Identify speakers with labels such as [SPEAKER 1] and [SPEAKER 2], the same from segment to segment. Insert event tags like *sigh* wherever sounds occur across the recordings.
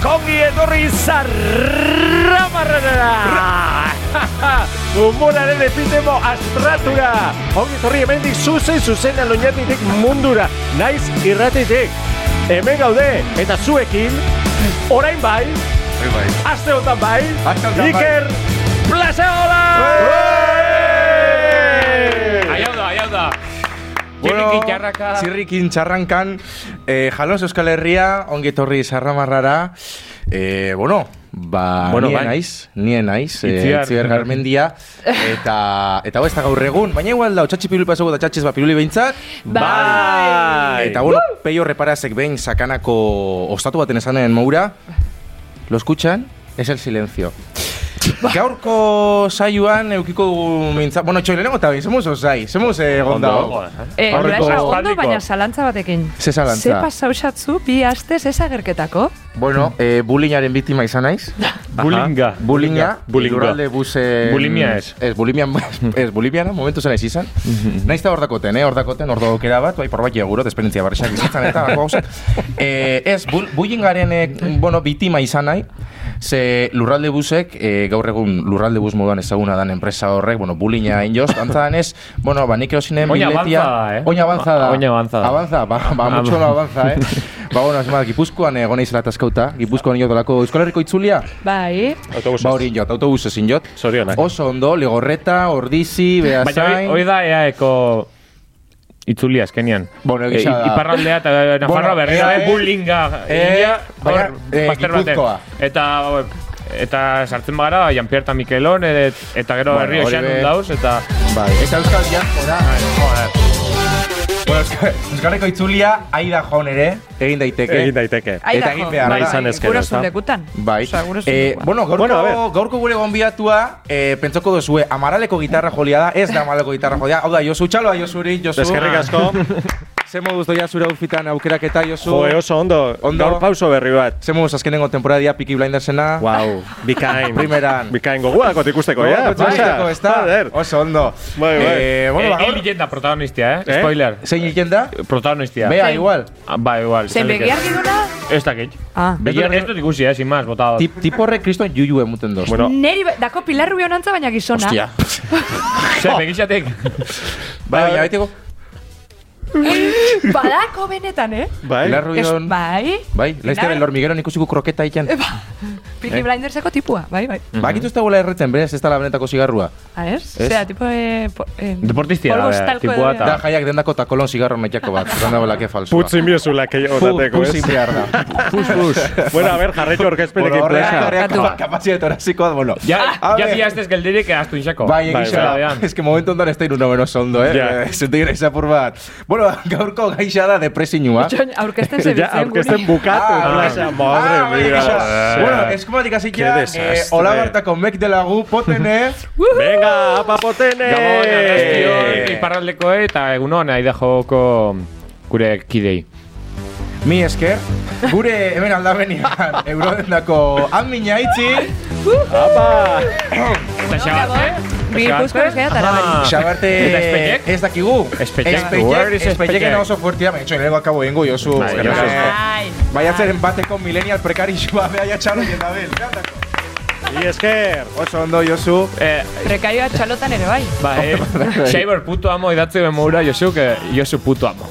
[SPEAKER 1] etorri zarra *laughs* marranara! Humoraren epitemo astratura! Ongi etorri hemendik zuzen zuzenan oinatitik mundura, naiz irratitik. Hemen gaude, eta zuekin, orain bai,
[SPEAKER 2] Bai, bai.
[SPEAKER 1] aste honetan bai,
[SPEAKER 2] Aste honetan bai.
[SPEAKER 1] Iker Plazaola!
[SPEAKER 3] Aiau da, aiau da. Txirrikin jarraka.
[SPEAKER 2] txirrikin txarrankan, eh, jalos Euskal Herria, ongi etorri zarramarrara, eh, bueno, ba,
[SPEAKER 1] Bueno,
[SPEAKER 2] nien
[SPEAKER 1] bai.
[SPEAKER 2] naiz, nien naiz, eh,
[SPEAKER 1] Itziar.
[SPEAKER 2] Itziar Garmendia, eta, eta hau ez da gaur egun, baina igual da, otxatxi piruli pasoko eta txatxiz ba piruli behintzat,
[SPEAKER 1] Bai!
[SPEAKER 2] eta bueno, peio reparasek behin sakanako ostatu baten esanen moura, lo escuchan, es el silencio.
[SPEAKER 1] Ba.
[SPEAKER 2] Gaurko saioan eukiko dugu mintza... Bueno, txoilenengo eta behin, zemuz osai, zemuz egonda.
[SPEAKER 4] Eh,
[SPEAKER 2] Aurreko-
[SPEAKER 4] Aurreko ondo,
[SPEAKER 1] Aspaldikoak.
[SPEAKER 4] baina zalantza batekin.
[SPEAKER 2] Ze zalantza?
[SPEAKER 4] Ze pasausatzu bi astez ez agerketako?
[SPEAKER 2] Bueno, eh, bullyingaren biktima izan naiz.
[SPEAKER 1] Bulinga.
[SPEAKER 2] Bulinga,
[SPEAKER 1] Bulinga.
[SPEAKER 2] lurralde buzen...
[SPEAKER 1] Bulimia ez.
[SPEAKER 2] Ez, *laughs* bulimian, ez, bulimiana, momentu zen ez
[SPEAKER 3] *laughs*
[SPEAKER 2] izan. Naiz eta hor dakoten, eh, hor dakoten, hor daukera bat, bai, porbaki egurot, esperientzia barrexak izatzen eta bako
[SPEAKER 3] *laughs*
[SPEAKER 2] gauzak. Eh, ez, bul, bullyingaren, eh, bueno, bitima izan nahi, ze lurralde busek, eh, gaur egun lurralde bus moduan ezaguna dan enpresa horrek, bueno, bulinga injoz, antzadan ez, bueno, ba, nik erosinen
[SPEAKER 3] Oin
[SPEAKER 2] biletia...
[SPEAKER 3] avanza da, eh?
[SPEAKER 2] Oin avanza da.
[SPEAKER 3] Oin avanza da.
[SPEAKER 2] Avanza, ba, ba,
[SPEAKER 3] Ah,
[SPEAKER 2] mucho
[SPEAKER 3] ba.
[SPEAKER 2] no avanza, eh? Ba, bueno, ez ma, Gipuzkoan egon naizela taskauta, Gipuzkoan inot delako Euskal Herriko itzulia,
[SPEAKER 4] Bai.
[SPEAKER 2] Ba hori jot, autobus ezin jot.
[SPEAKER 1] Zorionak.
[SPEAKER 2] Oso ondo, ligorreta, ordizi,
[SPEAKER 3] Baina hoi-
[SPEAKER 2] behazain...
[SPEAKER 3] hoi da eaeko itzulia azkenian.
[SPEAKER 2] Bueno,
[SPEAKER 3] Eh,
[SPEAKER 2] egia da.
[SPEAKER 3] Iparraldea eta Nafarroa berrera,
[SPEAKER 2] EAE,
[SPEAKER 3] eh, bulinga.
[SPEAKER 2] eh,
[SPEAKER 3] ia,
[SPEAKER 2] baina,
[SPEAKER 3] hor,
[SPEAKER 2] eh,
[SPEAKER 3] bazter baten.
[SPEAKER 2] Gipuzkoa.
[SPEAKER 3] Eta hor, eta sartzen bagara, Jan Pierre eta Mikelon, eh, eta gero
[SPEAKER 2] Bueno,
[SPEAKER 3] herri
[SPEAKER 2] hori
[SPEAKER 3] oxean
[SPEAKER 2] be.
[SPEAKER 3] dauz, eta...
[SPEAKER 2] Bai, eta Euskal Diaspora... Joder. Bueno, Euskal- Euskal Herriko itzulia, aida joan ere, egin daiteke.
[SPEAKER 3] Eh,
[SPEAKER 1] Egin daiteke.
[SPEAKER 2] Eta egin behar da.
[SPEAKER 1] Izan ezkero, ezta?
[SPEAKER 4] Gurasun Bai, lekutan.
[SPEAKER 2] Bai.
[SPEAKER 4] Osea, gurasun
[SPEAKER 2] Eh,
[SPEAKER 4] lekuan.
[SPEAKER 2] bueno, gaurko,
[SPEAKER 1] Bueno, a ver.
[SPEAKER 2] gaurko gure gonbiatua, eh, pentsoko duzue, amaraleko gitarra jolia da, ez da amaraleko gitarra jolia. Hau da, Josu, txaloa Josuri, Josu. Ah.
[SPEAKER 5] Eskerrik asko.
[SPEAKER 2] *laughs*
[SPEAKER 3] *laughs*
[SPEAKER 2] Ze moduz doia zure outfitan aukeraketa, Josu.
[SPEAKER 5] Jo, oso ondo.
[SPEAKER 2] Ondo.
[SPEAKER 5] Gaur pauso berri bat.
[SPEAKER 2] Ze moduz azkenengo temporadia Peaky Blindersena.
[SPEAKER 5] Wow, bikain.
[SPEAKER 2] Primeran.
[SPEAKER 5] Bikain gogoakot ikusteko,
[SPEAKER 2] Oye,
[SPEAKER 5] ja.
[SPEAKER 2] kontxa ikusteko, ezta?
[SPEAKER 5] Joder.
[SPEAKER 2] Oso ondo.
[SPEAKER 5] Bai, bai.
[SPEAKER 2] Eh, bueno, ba,
[SPEAKER 3] Eh,
[SPEAKER 2] gaur-
[SPEAKER 3] hil jenda protagonistia, eh?
[SPEAKER 5] Eh?
[SPEAKER 3] Spoiler.
[SPEAKER 2] Zein hilken da?
[SPEAKER 3] Eh, Protagonistia.
[SPEAKER 2] Bea, igual.
[SPEAKER 3] Ah, Ba, igual.
[SPEAKER 4] Zein
[SPEAKER 3] zelik ez.
[SPEAKER 4] begiargi duna?
[SPEAKER 3] Ez dakit.
[SPEAKER 4] Ah.
[SPEAKER 3] Begiargi ez dut ikusi, eh, sin más, botado.
[SPEAKER 2] Tip, tipo horrek kriston juju emuten doz.
[SPEAKER 5] Bueno,
[SPEAKER 4] Neri, be- dako pilarru honantza baina gizona.
[SPEAKER 2] Hostia.
[SPEAKER 3] Ze,
[SPEAKER 2] Oh.
[SPEAKER 3] begixatek.
[SPEAKER 2] Bai, baina betiko.
[SPEAKER 4] *laughs* Badako benetan, eh?
[SPEAKER 5] bai.
[SPEAKER 2] Pilar
[SPEAKER 4] Ez,
[SPEAKER 2] Rubion.
[SPEAKER 4] bai.
[SPEAKER 2] Bai, laizte
[SPEAKER 4] Pilar-
[SPEAKER 2] el hormigueron ikusiko kroketa egiten. Eh?
[SPEAKER 4] Piki Blinderseko tipua, bai, bai.
[SPEAKER 2] Bakitu ez da bola erretzen, berez, ez da la benetako zigarrua.
[SPEAKER 4] A ez? Zera, tipo... Eh, po, eh,
[SPEAKER 3] Deportistia da,
[SPEAKER 4] polbo
[SPEAKER 3] bea,
[SPEAKER 4] estalko
[SPEAKER 3] tipua
[SPEAKER 4] edo-
[SPEAKER 3] Ah.
[SPEAKER 2] Da jaiak dendako takolon zigarro metiako bat. Zan da bola, que falsoa.
[SPEAKER 5] Putzi miozula keio
[SPEAKER 2] Pu-
[SPEAKER 5] dateko,
[SPEAKER 2] Putzi
[SPEAKER 5] ez?
[SPEAKER 2] behar da. Pus, pus.
[SPEAKER 5] Bueno, a ver, jarraitu
[SPEAKER 2] Bueno,
[SPEAKER 5] orkezpenekin
[SPEAKER 2] horrek,
[SPEAKER 5] plesa.
[SPEAKER 2] horrek,
[SPEAKER 4] Barkatu.
[SPEAKER 2] kapazia torazikoa, bueno.
[SPEAKER 3] Ja,
[SPEAKER 2] *laughs* A
[SPEAKER 3] ja
[SPEAKER 2] ver.
[SPEAKER 3] piaztez geldirik ahaztu inxako.
[SPEAKER 2] Bai,
[SPEAKER 5] Bai,
[SPEAKER 2] egisa
[SPEAKER 3] bai.
[SPEAKER 2] da. Es que momentu ondan ez da iruna beno zondo, eh?
[SPEAKER 5] Ja.
[SPEAKER 2] Eh, Zente gira izapur bat. Bueno, *laughs* gaurko gaixa da depresinua.
[SPEAKER 4] Jon, aurkezten
[SPEAKER 2] *laughs*
[SPEAKER 5] Ja,
[SPEAKER 4] zebiltzen
[SPEAKER 5] aurkezten bukatu. plasa. Madre
[SPEAKER 2] ah,
[SPEAKER 5] mía. Eh,
[SPEAKER 2] gisa. Bueno, eskumatik hasi
[SPEAKER 5] Qué
[SPEAKER 2] ja, eh,
[SPEAKER 5] desastre.
[SPEAKER 2] olabartako mek dela gu potene.
[SPEAKER 5] Venga, apapotene!
[SPEAKER 3] Gabon, arrastion, iparraldeko eta egunon, ahi joko gure kidei.
[SPEAKER 2] Mi esker, gure hemen aldamenean eurodendako admina itxi,
[SPEAKER 5] Apa!
[SPEAKER 3] Eta xabarte?
[SPEAKER 4] Bi guzko ezkera eta
[SPEAKER 2] Ah,
[SPEAKER 3] Ah.
[SPEAKER 4] arabari.
[SPEAKER 2] xabarte
[SPEAKER 3] Eta espeinek?
[SPEAKER 2] ez dakigu.
[SPEAKER 3] Espeinek.
[SPEAKER 2] Espeinek,
[SPEAKER 3] Where is
[SPEAKER 2] espeinek
[SPEAKER 3] espeinek?
[SPEAKER 2] ena oso fuertia, baina txoen lehenko akabu egingo jozu.
[SPEAKER 3] Bai,
[SPEAKER 2] Eskerrik
[SPEAKER 3] jozu.
[SPEAKER 2] asko.
[SPEAKER 4] Ai.
[SPEAKER 2] Baiatzeren bateko millennial prekarixua *laughs* behaia txalo jendabil.
[SPEAKER 5] I esker!
[SPEAKER 2] Oso ondo, Josu.
[SPEAKER 3] Eh,
[SPEAKER 4] Prekarioa txalotan ere bai.
[SPEAKER 3] ba, eh, Xaibor puto amo idatzi bemura Josuk, eh, Josu puto amo.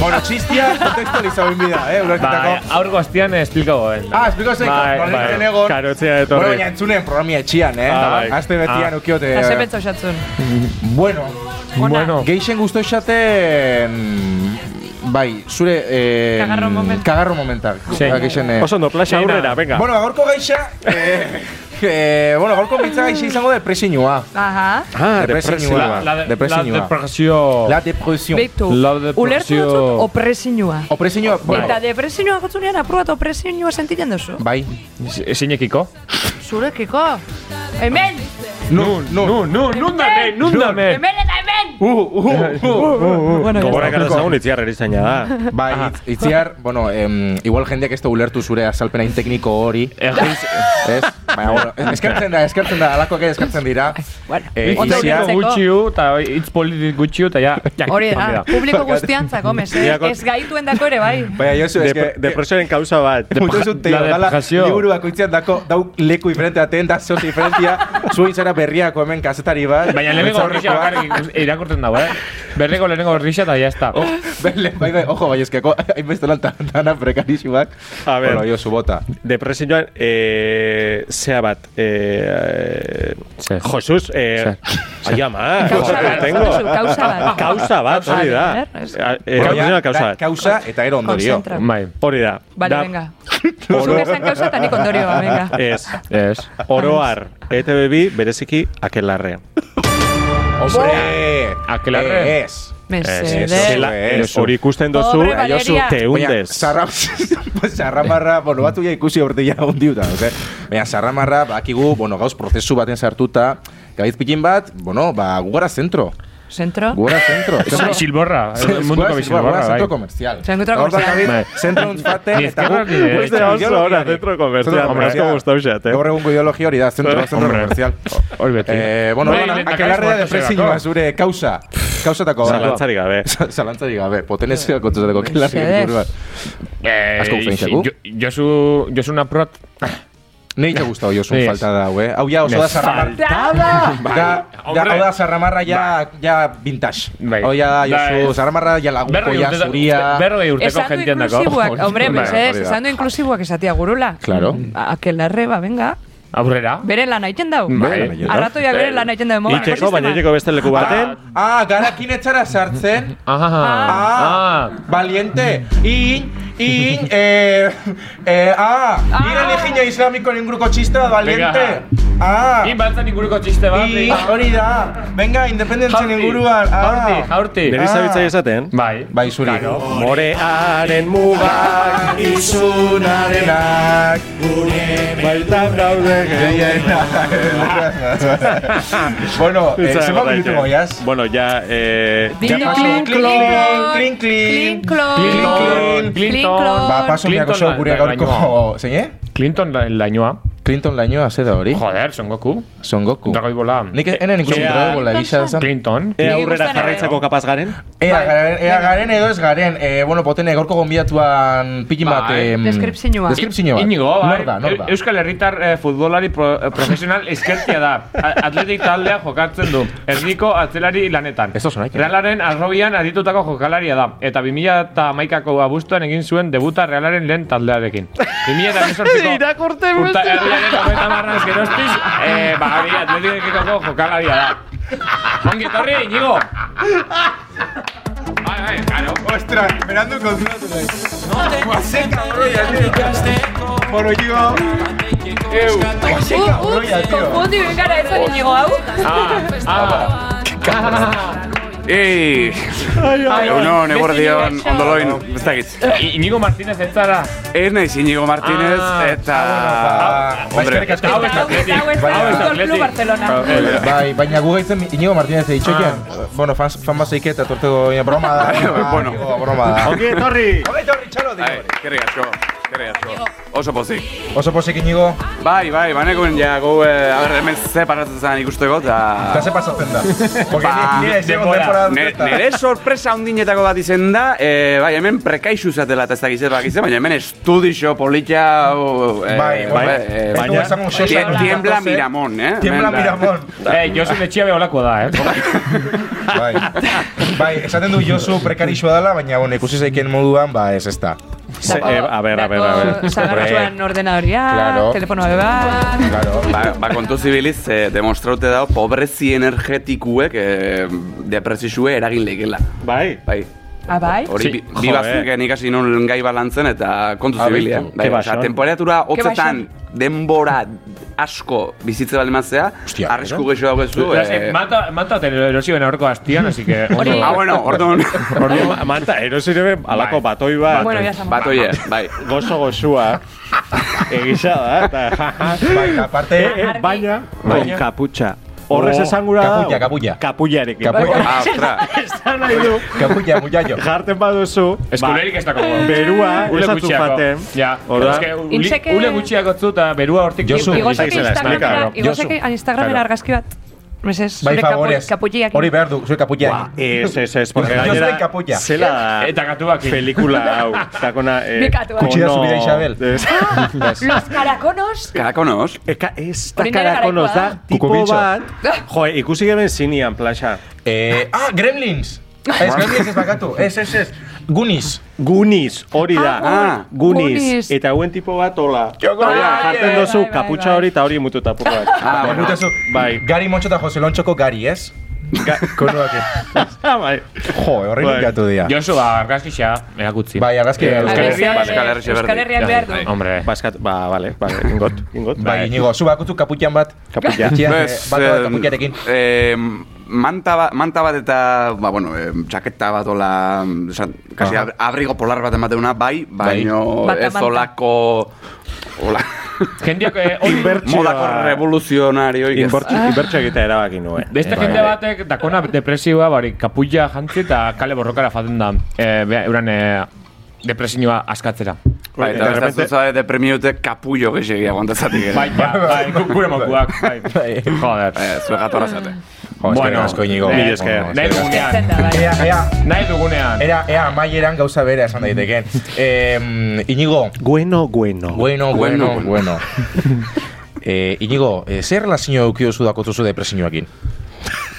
[SPEAKER 2] Bueno, txistia, kontekstualiza bin bida, eh,
[SPEAKER 3] Ba,
[SPEAKER 2] ulertetako.
[SPEAKER 3] aur goztian esplikago ben.
[SPEAKER 2] Ah, espliko zeiko,
[SPEAKER 3] Bai,
[SPEAKER 2] konekten
[SPEAKER 3] bai.
[SPEAKER 2] egon.
[SPEAKER 5] Karotzea
[SPEAKER 2] Bueno,
[SPEAKER 5] etorri.
[SPEAKER 2] baina entzunen programia etxian, eh?
[SPEAKER 5] Ah, bai.
[SPEAKER 2] Aste betian
[SPEAKER 3] Ah.
[SPEAKER 2] ukiote.
[SPEAKER 4] Hase pentsatzen.
[SPEAKER 2] Bueno,
[SPEAKER 3] Bueno,
[SPEAKER 2] Geixen guztu esaten... em, Bai, zure... Eh,
[SPEAKER 4] Kagarro moment.
[SPEAKER 2] Kagarro momental.
[SPEAKER 3] Zein.
[SPEAKER 2] Ah, Geixen, eh.
[SPEAKER 5] Oso ondo, plasa
[SPEAKER 3] Zeina.
[SPEAKER 5] aurrera, venga.
[SPEAKER 2] Bueno, gaurko geixa... Eh, *laughs* eh, bueno, gaurko mitza geixa izango da depresinua.
[SPEAKER 4] Aha.
[SPEAKER 5] Ah,
[SPEAKER 2] depresinua.
[SPEAKER 3] la, la, de- la
[SPEAKER 2] Depresinua.
[SPEAKER 3] depresio.
[SPEAKER 2] La Bai. depresion.
[SPEAKER 4] Beitu.
[SPEAKER 3] Lau de
[SPEAKER 4] Ulertu
[SPEAKER 3] presio-
[SPEAKER 4] dut opresinua.
[SPEAKER 2] Opresinua...
[SPEAKER 4] Eta
[SPEAKER 2] Bueno,
[SPEAKER 4] depresinua gotzunean apur bat opresinua sentitzen duzu.
[SPEAKER 2] bai.
[SPEAKER 3] Zinekiko?
[SPEAKER 4] Zurekiko. Hemen!
[SPEAKER 2] Nun, nun.
[SPEAKER 3] nun, nun dame, nun dame.
[SPEAKER 4] Hemen eta hemen!
[SPEAKER 2] Uh, uh, uh, uh,
[SPEAKER 4] Bueno, ya
[SPEAKER 5] Gogorrak
[SPEAKER 4] está.
[SPEAKER 5] arazagun itziar erizaina da.
[SPEAKER 2] Bai, itz- itziar, bueno, em, igual jendeak ez da ulertu zure azalpena tekniko hori,
[SPEAKER 3] Egiz,
[SPEAKER 2] ez? Baina, *laughs* bueno, eskertzen da, eskertzen da, alakoak ere eskertzen dira.
[SPEAKER 4] Bueno,
[SPEAKER 2] Eh,
[SPEAKER 4] ondo
[SPEAKER 2] isia-
[SPEAKER 4] ulertzeko.
[SPEAKER 3] gutxiu, eta hitz politik gutxiu, eta ja, ja,
[SPEAKER 4] Hori
[SPEAKER 3] hori
[SPEAKER 4] da, publiko guztiantzako, mesedez.
[SPEAKER 5] Ia, kon-
[SPEAKER 4] Ez gaituen dako ere, bai.
[SPEAKER 2] Baina, Josu, ez
[SPEAKER 5] Dep-
[SPEAKER 2] que... eh,
[SPEAKER 5] Depresioaren kausa bat.
[SPEAKER 2] Mutu zut teio,
[SPEAKER 3] la
[SPEAKER 2] gala,
[SPEAKER 3] depresio.
[SPEAKER 2] liburu bakoitzean dako, dau leku diferente aten, da zoz diferentia, zu izara berriako hemen kazetari bat.
[SPEAKER 3] Baina lehenengo horrixa
[SPEAKER 2] Baitzaurrekoa. *laughs*
[SPEAKER 3] bakarrik irakurtzen dago, eh? Berreko lehenengo horrixa eta ya está.
[SPEAKER 2] Bele, bai, bai, ojo, bai, eskeko, hainbeste lan tan- dana prekarixuak.
[SPEAKER 5] A ber.
[SPEAKER 2] Bueno, Josu, bota.
[SPEAKER 5] Depresioan, eh, zea bat. Eh,
[SPEAKER 3] Zer.
[SPEAKER 5] Josuz, eh, *laughs* ai ama,
[SPEAKER 4] Kausa
[SPEAKER 5] joder,
[SPEAKER 4] bat,
[SPEAKER 5] tengo.
[SPEAKER 4] Josu, kausa bat.
[SPEAKER 5] *laughs* Kausa bat, hori da.
[SPEAKER 4] Vale, a ver, es-
[SPEAKER 5] A- eh, Depresioan kausa
[SPEAKER 2] da-
[SPEAKER 5] bat.
[SPEAKER 2] Kausa eta ero ondorio.
[SPEAKER 4] Konzentra.
[SPEAKER 3] Bai,
[SPEAKER 5] Hori da.
[SPEAKER 4] Bale,
[SPEAKER 5] Da-
[SPEAKER 2] *laughs*
[SPEAKER 4] venga. Zuk esan kausa eta nik
[SPEAKER 2] Eh,
[SPEAKER 4] ondorioa, venga.
[SPEAKER 5] Ez.
[SPEAKER 4] *laughs*
[SPEAKER 3] ez.
[SPEAKER 5] Oroar, E ETV bi bereziki akelarre.
[SPEAKER 2] Hombre! eh,
[SPEAKER 3] Aquelarre.
[SPEAKER 2] Ez.
[SPEAKER 5] Eh,
[SPEAKER 4] Mesedez.
[SPEAKER 2] Zela-
[SPEAKER 5] Ez,
[SPEAKER 2] Josu.
[SPEAKER 5] hori ikusten dozu,
[SPEAKER 4] Pobre
[SPEAKER 5] eh, Josu,
[SPEAKER 4] Valeria.
[SPEAKER 5] te
[SPEAKER 2] Baina,
[SPEAKER 5] hundes.
[SPEAKER 2] sarra, *laughs* sarramarra, bueno, batu ja ikusi horte *laughs* ja ondiuta, oke? Baina, sarramarra, bakigu, bueno, gauz prozesu baten sartuta, gabiz pikin bat, bueno, ba, gugara zentro.
[SPEAKER 4] Zentro.
[SPEAKER 2] Gugara zentro. Zentro-
[SPEAKER 3] Isilborra,
[SPEAKER 2] Zen-
[SPEAKER 3] munduko
[SPEAKER 2] gugara- gugara
[SPEAKER 3] bizilborra,
[SPEAKER 2] Zentro
[SPEAKER 3] bai.
[SPEAKER 2] komerzial.
[SPEAKER 4] Zentro
[SPEAKER 2] Hor da,
[SPEAKER 4] komertzial.
[SPEAKER 2] David, Zentro untzfate,
[SPEAKER 3] Ni
[SPEAKER 2] eta
[SPEAKER 3] izquierda
[SPEAKER 2] guk-
[SPEAKER 3] ni derecha.
[SPEAKER 2] guk zera
[SPEAKER 5] Oso
[SPEAKER 2] ideologiari.
[SPEAKER 5] ona, zentro komertzial.
[SPEAKER 2] Zentro
[SPEAKER 5] Hombre, asko
[SPEAKER 2] komertzial.
[SPEAKER 5] gustau zait, eh?
[SPEAKER 2] Gaur egungo ideologia hori da, zentro, zentro
[SPEAKER 3] Hombre.
[SPEAKER 2] komertzial.
[SPEAKER 3] Hori beti.
[SPEAKER 2] Eh, bueno,
[SPEAKER 3] Bai,
[SPEAKER 2] bueno,
[SPEAKER 3] lehendakari
[SPEAKER 2] akelarrea
[SPEAKER 3] sortu zelako.
[SPEAKER 2] depresioa zure kausa. Kausatako bat.
[SPEAKER 5] Zalantzari
[SPEAKER 2] *laughs*
[SPEAKER 5] gabe.
[SPEAKER 2] Zalantzarik gabe, potenezioa kontuzateko kelarri
[SPEAKER 4] Mesedez.
[SPEAKER 2] kultur bat.
[SPEAKER 3] Eh,
[SPEAKER 2] Asko gustatzen zaigu.
[SPEAKER 3] jo- Josu, Josu Naprot,
[SPEAKER 2] Nei te gustau Josun
[SPEAKER 3] Sí,
[SPEAKER 2] falta da, eh? Hau ja oso
[SPEAKER 3] Me
[SPEAKER 2] da zarramarra. *laughs* Da, da,
[SPEAKER 3] hombre.
[SPEAKER 2] hau da zarramarra ja, ja vintage.
[SPEAKER 3] Bai.
[SPEAKER 2] Hau ja
[SPEAKER 3] Da,
[SPEAKER 2] Josu,
[SPEAKER 3] ez.
[SPEAKER 2] zarramarra ja lagunko,
[SPEAKER 3] berroi
[SPEAKER 2] ja
[SPEAKER 3] urteta-
[SPEAKER 2] zuria.
[SPEAKER 3] berroi urteko
[SPEAKER 4] Esan du
[SPEAKER 3] jentian dago.
[SPEAKER 2] *laughs*
[SPEAKER 4] inklusiboak, hombre,
[SPEAKER 3] Bai,
[SPEAKER 4] mesedez,
[SPEAKER 2] hori da.
[SPEAKER 4] esan du inklusiboak esatia gurula.
[SPEAKER 2] Claro.
[SPEAKER 4] Akelarre, ba, venga.
[SPEAKER 3] Aurrera.
[SPEAKER 4] Bere lan haiten dau.
[SPEAKER 2] Bai, bai, bai.
[SPEAKER 4] Arratoiak bere lan haiten dau. modan,
[SPEAKER 5] Itxeko, baina
[SPEAKER 4] ekosisteman.
[SPEAKER 5] itxeko beste leku baten.
[SPEAKER 2] Ah, garakin etxara sartzen.
[SPEAKER 3] *laughs* Ah,
[SPEAKER 2] Ah, valiente. In, in, eh, eh, ah, nire legina islamiko inguruko txiste bat, valiente. Ah,
[SPEAKER 3] Ni baltzan inguruko txiste bat.
[SPEAKER 2] i, hori da. Venga, independentzen
[SPEAKER 3] Jaurti,
[SPEAKER 2] inguruan.
[SPEAKER 3] jaurti,
[SPEAKER 2] Ah,
[SPEAKER 3] jaurti.
[SPEAKER 5] Nire zabiltzaile esaten.
[SPEAKER 3] Bai.
[SPEAKER 2] bai, zuri.
[SPEAKER 5] Morearen mugak
[SPEAKER 2] Izunarenak
[SPEAKER 5] baitan daude
[SPEAKER 2] *laughs* bueno, eh,
[SPEAKER 5] Esa
[SPEAKER 2] se
[SPEAKER 5] verdad
[SPEAKER 2] va
[SPEAKER 5] que-
[SPEAKER 2] minuto goiaz.
[SPEAKER 5] Bueno, ya, eh...
[SPEAKER 4] Clink,
[SPEAKER 2] Ya pasó.
[SPEAKER 4] clink,
[SPEAKER 2] Clink, clink, clink.
[SPEAKER 4] clink, clon,
[SPEAKER 3] Clinton,
[SPEAKER 4] clink, clon.
[SPEAKER 2] Ba, paso
[SPEAKER 3] Clinton
[SPEAKER 2] miako
[SPEAKER 3] la-
[SPEAKER 2] gure
[SPEAKER 3] la-
[SPEAKER 2] gaurko... Zein, eh?
[SPEAKER 3] Clinton la- lainoa.
[SPEAKER 2] Clinton laino haze da hori.
[SPEAKER 3] Joder, Son Goku.
[SPEAKER 2] Son Goku.
[SPEAKER 3] Dragoi bola.
[SPEAKER 2] Nik enen ikusi
[SPEAKER 5] Ea-
[SPEAKER 2] drago bola gisa esan.
[SPEAKER 3] Clinton.
[SPEAKER 5] Ea
[SPEAKER 4] Niri
[SPEAKER 5] eh, aurrera
[SPEAKER 4] gustan ere.
[SPEAKER 5] jarraitzako kapaz garen?
[SPEAKER 2] Ea
[SPEAKER 4] Bai.
[SPEAKER 2] garen, ea garen edo ez garen. Eh, bueno, potene gaurko gonbidatuan pillin bat...
[SPEAKER 3] Bai.
[SPEAKER 2] em,
[SPEAKER 4] Deskripzioa.
[SPEAKER 2] Deskripzioa bat.
[SPEAKER 3] Inigo, bai.
[SPEAKER 2] Nor da, nor da.
[SPEAKER 3] Eu- Euskal Herritar eh, futbolari pro- eh, profesional eskertia da. A- Atletik taldea jokatzen du. Erniko atzelari lanetan.
[SPEAKER 2] Ez oso nahi.
[SPEAKER 3] Realaren arrobian aditutako jokalaria da. Eta 2008ko abuztuan egin zuen debuta Realaren lehen
[SPEAKER 2] *laughs*
[SPEAKER 3] taldearekin. 2008ko... Irakurte beste! Herriaren hogeita marraz geroztiz, eh, ba, hori atletikeko jokalaria da. Ongi etorri, Inigo! Bai, bai, claro.
[SPEAKER 2] Ostras, esperando con Bueno, yo.
[SPEAKER 3] Eu.
[SPEAKER 4] Uh, uh, konfundi bengara ez zan inigo hau.
[SPEAKER 3] Ah, ah.
[SPEAKER 6] Ei, egunon, eguerdion,
[SPEAKER 4] Beste
[SPEAKER 6] ondoloin, ez dakit.
[SPEAKER 3] I- Inigo Martínez ez zara.
[SPEAKER 6] Ez naiz Inigo Martínez
[SPEAKER 3] Ah,
[SPEAKER 6] eta...
[SPEAKER 2] ah, Hombre.
[SPEAKER 6] Hombre,
[SPEAKER 3] Hau
[SPEAKER 4] Hau
[SPEAKER 3] ez
[SPEAKER 4] ez
[SPEAKER 3] atletik.
[SPEAKER 4] da, hau ez da,
[SPEAKER 3] Hau ez
[SPEAKER 4] Futbol Club
[SPEAKER 3] atletik.
[SPEAKER 4] Barcelona.
[SPEAKER 2] Bai, baina gu gaitzen Inigo Martínez eitxokian. Bueno, fan, fan bazeik eta tortego eh,
[SPEAKER 6] *laughs*
[SPEAKER 2] broma da.
[SPEAKER 6] Ah. Bueno.
[SPEAKER 2] Inigo, broma da.
[SPEAKER 5] Ongi etorri!
[SPEAKER 2] ba.
[SPEAKER 6] Ai, kerri asko, kerri asko. Oso pozik.
[SPEAKER 2] Oso posik Inigo,
[SPEAKER 6] Bai, bai, banekoen ja gu, eh, a ber, hemen ze paratzen zen ikusteko,
[SPEAKER 2] eta
[SPEAKER 6] eta...
[SPEAKER 2] ze pasatzen
[SPEAKER 6] *laughs*
[SPEAKER 2] da. Porque
[SPEAKER 6] Ba,
[SPEAKER 2] nire ez egon
[SPEAKER 3] denbora.
[SPEAKER 2] denbora
[SPEAKER 6] Ne-
[SPEAKER 2] zertan.
[SPEAKER 6] Nere sorpresa handinetako bat izen da, eh, bai, hemen prekaixu zatela eta ez dakit zer bakitzen, baina hemen estudixo, politia... o, eh,
[SPEAKER 2] Bai, bai.
[SPEAKER 6] eh,
[SPEAKER 2] Ez dugu esango
[SPEAKER 6] tie-
[SPEAKER 2] sosa holan
[SPEAKER 6] Tiembla
[SPEAKER 2] datoz, eh?
[SPEAKER 6] Miramon, eh?
[SPEAKER 2] Tiembla
[SPEAKER 6] Hemen da.
[SPEAKER 2] Miramon.
[SPEAKER 3] Eh, Josu Letxia beholako da, eh?
[SPEAKER 2] Bai. Bai, esaten du Josu prekarixua dela, baina bueno, ikusi zeiken moduan, ba, ez ez da.
[SPEAKER 5] Se- eh, a ber, a ber, a ber.
[SPEAKER 4] Dako zagartzuan
[SPEAKER 2] Claro.
[SPEAKER 4] ordenadoria, telefonoa beba.
[SPEAKER 2] Claro.
[SPEAKER 6] Ba, ba kontu zibiliz, eh, demostraute dago pobrezi energetikuek eh, depresisue eragin leikela.
[SPEAKER 5] Bai,
[SPEAKER 6] Bai.
[SPEAKER 4] Abai?
[SPEAKER 6] Hori,
[SPEAKER 5] Sí,
[SPEAKER 6] bi,
[SPEAKER 5] jo,
[SPEAKER 6] bi bazek
[SPEAKER 5] eh.
[SPEAKER 6] ikasi non gai balantzen eta kontu zibili, eh?
[SPEAKER 2] Ah, beitu.
[SPEAKER 6] Bai,
[SPEAKER 5] Ke
[SPEAKER 6] osea,
[SPEAKER 5] baxon.
[SPEAKER 6] temperatura
[SPEAKER 4] Ke
[SPEAKER 6] hotzetan denbora asko bizitze balen mazea,
[SPEAKER 2] Hostia,
[SPEAKER 6] arrisku gehiago dagoezu. Eh,
[SPEAKER 3] Manta, manta te erosi ben aurko hastian, así que...
[SPEAKER 4] Hori.
[SPEAKER 6] ah, bueno, orduan,
[SPEAKER 2] *laughs*
[SPEAKER 5] Ma- manta, erosire alako
[SPEAKER 3] Bai.
[SPEAKER 5] batoi bat.
[SPEAKER 4] Bueno, ya estamos.
[SPEAKER 6] bat oie, bai.
[SPEAKER 5] Gozo
[SPEAKER 4] *laughs*
[SPEAKER 5] gozua. Egisa da, eta...
[SPEAKER 2] Bai, eta aparte,
[SPEAKER 6] Eh,
[SPEAKER 5] Baina,
[SPEAKER 3] Baina.
[SPEAKER 5] kaputxa.
[SPEAKER 1] Horrez
[SPEAKER 2] Oh,
[SPEAKER 1] esan gura da...
[SPEAKER 2] kapuia, kapuia.
[SPEAKER 1] Kapuiarekin.
[SPEAKER 5] *laughs*
[SPEAKER 2] Kapuia.
[SPEAKER 6] Ah, ostra.
[SPEAKER 1] Esan nahi du,
[SPEAKER 2] Kapuia, muñaio.
[SPEAKER 1] jarten baduzu...
[SPEAKER 5] ba,
[SPEAKER 3] Eskulerik ez dako guau.
[SPEAKER 1] Berua,
[SPEAKER 3] Ule
[SPEAKER 1] esatu
[SPEAKER 3] gutxiako.
[SPEAKER 1] jaten.
[SPEAKER 3] Ja,
[SPEAKER 1] Orda-
[SPEAKER 3] eske uli-
[SPEAKER 4] Inseke-
[SPEAKER 3] ule gutxiago zu eta berua hortik
[SPEAKER 2] Josu,
[SPEAKER 3] ibili.
[SPEAKER 4] Igozak
[SPEAKER 5] Zaizela,
[SPEAKER 4] Instagramera,
[SPEAKER 5] claro.
[SPEAKER 2] Josu.
[SPEAKER 4] igozak Instagramen
[SPEAKER 2] Claro.
[SPEAKER 4] argazki bat. Meses,
[SPEAKER 2] Bai,
[SPEAKER 4] zure
[SPEAKER 2] favorez.
[SPEAKER 4] kapuiak.
[SPEAKER 2] Hori behar du, zure kapuia.
[SPEAKER 5] Ez, ez, ez, porque
[SPEAKER 2] Yo
[SPEAKER 5] gainera...
[SPEAKER 2] soy capulla.
[SPEAKER 5] Zela da...
[SPEAKER 3] Eta katuak.
[SPEAKER 5] Pelikula hau, takona... Eh,
[SPEAKER 4] Bekatua.
[SPEAKER 5] kono-
[SPEAKER 2] Kutsi da subida Isabel.
[SPEAKER 5] Ez.
[SPEAKER 4] Los caraconos.
[SPEAKER 6] Karakonos.
[SPEAKER 5] *laughs* Eka, ez
[SPEAKER 4] Hori nire
[SPEAKER 5] takarakonoz da,
[SPEAKER 4] garaikoa.
[SPEAKER 5] tipo
[SPEAKER 2] Kukubitxo.
[SPEAKER 5] bat... Jo, ikusi geben zinean, plaxa.
[SPEAKER 2] Eh, ah, Gremlins.
[SPEAKER 6] Ah.
[SPEAKER 2] Ez, Gremlins ez bakatu. Ez, ez, ez. Goonies.
[SPEAKER 5] Guniz, hori da.
[SPEAKER 6] Ah,
[SPEAKER 5] Guniz.
[SPEAKER 4] Goonies.
[SPEAKER 5] Eta hauen tipo bat, hola.
[SPEAKER 2] Bai,
[SPEAKER 5] Hola,
[SPEAKER 4] bai,
[SPEAKER 5] jartzen dozu,
[SPEAKER 4] bai, bai,
[SPEAKER 5] kaputxa
[SPEAKER 4] bai.
[SPEAKER 5] hori eta hori mututa apur bat.
[SPEAKER 6] Ah, bueno.
[SPEAKER 2] Bermutezu.
[SPEAKER 5] Bai.
[SPEAKER 2] Gari Moncho eta Jose Lonchoko Gari, ez? Konuak.
[SPEAKER 5] bai.
[SPEAKER 2] Jo, horri
[SPEAKER 5] Bai.
[SPEAKER 2] nikatu dira.
[SPEAKER 3] Josu, ba, argazkixa, erakutzi.
[SPEAKER 2] Bai, argazki Bai.
[SPEAKER 5] Eh,
[SPEAKER 2] behar
[SPEAKER 4] A ver,
[SPEAKER 2] du.
[SPEAKER 6] Euskal Herriak-
[SPEAKER 4] Euskal
[SPEAKER 6] Euskal Herriak-
[SPEAKER 4] Herriak behar du.
[SPEAKER 3] Hombre.
[SPEAKER 5] Baskat, ba, vale, vale, ingot, ingot.
[SPEAKER 2] Bai, inigo, zu bakutu kapuian bat.
[SPEAKER 5] Kapuia.
[SPEAKER 2] Txia, eh,
[SPEAKER 6] Bez,
[SPEAKER 2] Bat bat
[SPEAKER 6] em,
[SPEAKER 2] kapuiarekin.
[SPEAKER 6] em, manta, ba, manta bat eta, ba, bueno, em, txaketa bat ola, mm, esan, kasi
[SPEAKER 2] Aha.
[SPEAKER 6] ab- abrigo polar bat emateuna, bai, baino
[SPEAKER 4] Bata
[SPEAKER 6] ez
[SPEAKER 4] manta.
[SPEAKER 6] olako, hola,
[SPEAKER 3] Jendeak eh, hori-
[SPEAKER 6] modako revoluzionario.
[SPEAKER 4] Ah.
[SPEAKER 5] Inbertxo egitea erabaki nuen.
[SPEAKER 3] Beste
[SPEAKER 2] Bai.
[SPEAKER 3] jende batek dakona depresioa, bari, kapuia jantzi eta kale borrokara faten da. Eh, bea, euran eh, depresioa askatzera.
[SPEAKER 6] Bai,
[SPEAKER 5] Eta
[SPEAKER 6] eta beste
[SPEAKER 5] realmente-
[SPEAKER 6] zuzare de premiute kapullo gehiagia aguantatzatik. eh.
[SPEAKER 3] Bai, ja, bai, gu- gure mokuak, bai.
[SPEAKER 2] Bai.
[SPEAKER 3] Joder.
[SPEAKER 6] Eh, Zuek gatorra zate.
[SPEAKER 2] Jo,
[SPEAKER 3] bueno,
[SPEAKER 2] bueno, asko inigo.
[SPEAKER 5] mila
[SPEAKER 2] Bueno,
[SPEAKER 5] esker.
[SPEAKER 2] eskerrik
[SPEAKER 3] Nahi
[SPEAKER 2] asko.
[SPEAKER 4] Zen
[SPEAKER 3] dugunean.
[SPEAKER 4] da, bai.
[SPEAKER 2] Ea, ea,
[SPEAKER 3] Nahi dugunean.
[SPEAKER 2] Era, ea, amaieran gauza bera esan daiteken. Eh, Inigo,
[SPEAKER 5] Bueno, bueno.
[SPEAKER 2] bueno,
[SPEAKER 6] Bueno,
[SPEAKER 2] bueno, bueno. Eh, Inigo, eh, zer relazio eukiozu dakotuzu depresioakin?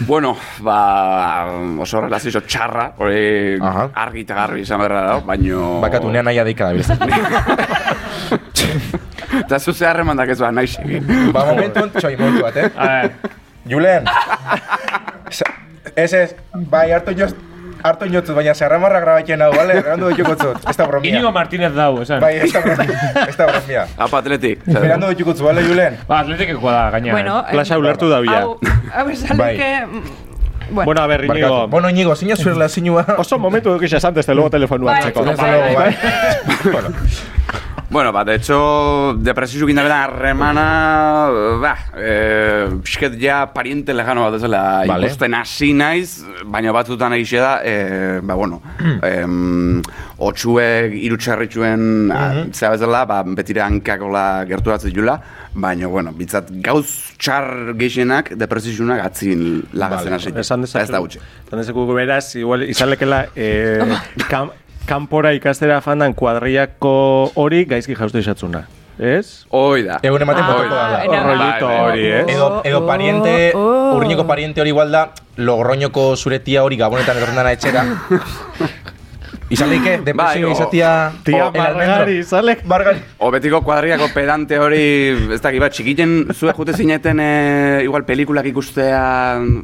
[SPEAKER 6] Bueno, ba, oso relazio txarra, hori
[SPEAKER 2] Aha.
[SPEAKER 6] argi eta garbi izan berra da, baino...
[SPEAKER 2] Bakatu, nean naia deika da
[SPEAKER 6] *laughs* Eta zuze harremandak ez ba, nahi segin.
[SPEAKER 2] ba, momentu ontxoi momentu bat, eh?
[SPEAKER 3] A ver,
[SPEAKER 2] Julen! Sa- Ez ez, bai, hartu joz... Hartu inotzut, baina zerramarra grabatien hau, bale? Errandu dutxukotzut, ez da bromia.
[SPEAKER 3] Inigo Martínez dau, esan.
[SPEAKER 2] Bai, ez da bromia, ez da bromia.
[SPEAKER 6] Apa, atletik.
[SPEAKER 2] Esperando dutxukotzu, bale, Julen?
[SPEAKER 3] Ba, atletekekoa da, gaina.
[SPEAKER 4] Bueno, eh,
[SPEAKER 5] Plaza ulertu da bila.
[SPEAKER 4] hau, *laughs* hau esan
[SPEAKER 2] Bai.
[SPEAKER 4] dute, mm,
[SPEAKER 5] Bueno, a ber,
[SPEAKER 2] Barkatu.
[SPEAKER 5] Inigo.
[SPEAKER 2] Bueno, Inigo, zina zure relazioa...
[SPEAKER 5] Oso momentu dukiz esan desde luego telefonua
[SPEAKER 4] Bai.
[SPEAKER 5] hartzeko.
[SPEAKER 2] Desde luego, bai. Bueno,
[SPEAKER 6] Bueno, ba, de hecho, depresizukin dabetan harremana, ba, eh, pixket ja pariente lejano bat ezela
[SPEAKER 2] Vale.
[SPEAKER 6] ikusten hasi naiz, baina batzutan egixe da, eh, ba, bueno,
[SPEAKER 2] Hmm.
[SPEAKER 6] em, otxuek, irutxarritxuen,
[SPEAKER 2] Hmm.
[SPEAKER 6] zera bezala, ba, betira hankakola gerturatzen jula, baina, bueno, bitzat gauz txar gehienak depresizunak atzin lagatzen
[SPEAKER 2] Vale.
[SPEAKER 6] hasi. Ba,
[SPEAKER 5] Esan dezakegu.
[SPEAKER 6] Ez da utxe.
[SPEAKER 5] Esan dezakegu beraz, igual, izan lekela, eh, kam, kanpora ikastera fandan kuadriako hori gaizki jaustu izatzuna. Ez?
[SPEAKER 6] Hoi da.
[SPEAKER 2] egun ematen
[SPEAKER 4] Ah,
[SPEAKER 2] botoko dala.
[SPEAKER 4] ena-
[SPEAKER 5] Rollito
[SPEAKER 6] Bai, bai.
[SPEAKER 5] hori, ez?
[SPEAKER 2] Edo, edo
[SPEAKER 4] Oh,
[SPEAKER 2] pariente,
[SPEAKER 4] oh.
[SPEAKER 2] urrineko pariente hori igual da, logroñoko zure tia hori gabonetan etorren dana etxera. Izan leike, depresio
[SPEAKER 6] Bai, o-
[SPEAKER 2] izatia...
[SPEAKER 5] Tia,
[SPEAKER 2] o, Oh, el almendro.
[SPEAKER 5] Margari, zalek.
[SPEAKER 2] Margari.
[SPEAKER 6] O betiko kuadriako pedante hori, ez dakit bat, txikiten zuek jute zineten e, igual pelikulak ikustea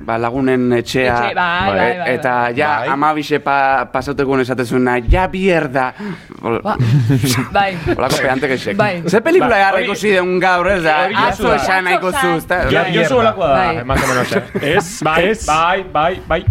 [SPEAKER 6] ba, lagunen etxea.
[SPEAKER 4] Etxe, bai, bai, bai, bai.
[SPEAKER 6] Eta ja,
[SPEAKER 2] Bai.
[SPEAKER 6] amabixe pa, pasautekun esatezuna, ja bierda. Ol-
[SPEAKER 4] ba- Bai.
[SPEAKER 6] Olako pedante gexek.
[SPEAKER 4] Bai.
[SPEAKER 6] Ze pelikula
[SPEAKER 3] Ba,
[SPEAKER 6] gara
[SPEAKER 3] hori-
[SPEAKER 6] ikusi deun gaur, ez da?
[SPEAKER 3] hori
[SPEAKER 6] Atzo
[SPEAKER 3] da.
[SPEAKER 6] esan nahiko
[SPEAKER 4] Atzo esan.
[SPEAKER 6] zu, ez da?
[SPEAKER 3] Ja,
[SPEAKER 2] mierda.
[SPEAKER 3] Josu olakoa
[SPEAKER 4] Bai.
[SPEAKER 3] da, más o menos. eh.
[SPEAKER 5] Ez,
[SPEAKER 3] Bai,
[SPEAKER 5] ez. *laughs*
[SPEAKER 3] bai, bai, bai.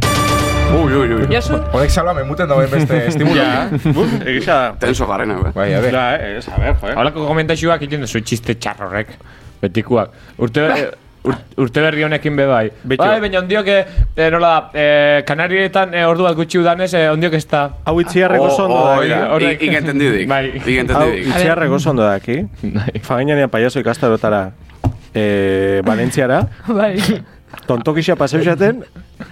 [SPEAKER 6] Ui, ui, ui.
[SPEAKER 4] Josu,
[SPEAKER 2] *laughs* Horrek salua memuten dauen
[SPEAKER 5] *laughs*
[SPEAKER 2] beste estimulo.
[SPEAKER 5] Ja, buf, egisa.
[SPEAKER 6] Tenso garen, hau, eh?
[SPEAKER 2] Bai, a ver.
[SPEAKER 5] Ja, ez, a ber, jo, eh.
[SPEAKER 3] Halako komentaxuak egiten duzu txiste txarrorek. Betikuak. Urte, eh, ur- urte berri honekin be bai.
[SPEAKER 5] Betio.
[SPEAKER 3] Bai, baina ondiok, eh, nola da, eh, Kanarietan eh, ordu bat gutxi udanez, eh, ondiok ez da.
[SPEAKER 5] Hau
[SPEAKER 6] Oh,
[SPEAKER 5] itxiarreko zondo da.
[SPEAKER 6] oi,
[SPEAKER 5] ja.
[SPEAKER 3] horrek.
[SPEAKER 6] ik- ikentendidik.
[SPEAKER 3] Bai.
[SPEAKER 5] Hau,
[SPEAKER 6] Ikentendidik.
[SPEAKER 5] itxiarreko zondo da, aki. Faginanean payaso ikastarotara. Eh, Valentziara.
[SPEAKER 4] bai.
[SPEAKER 5] Tontokixa paseuxaten,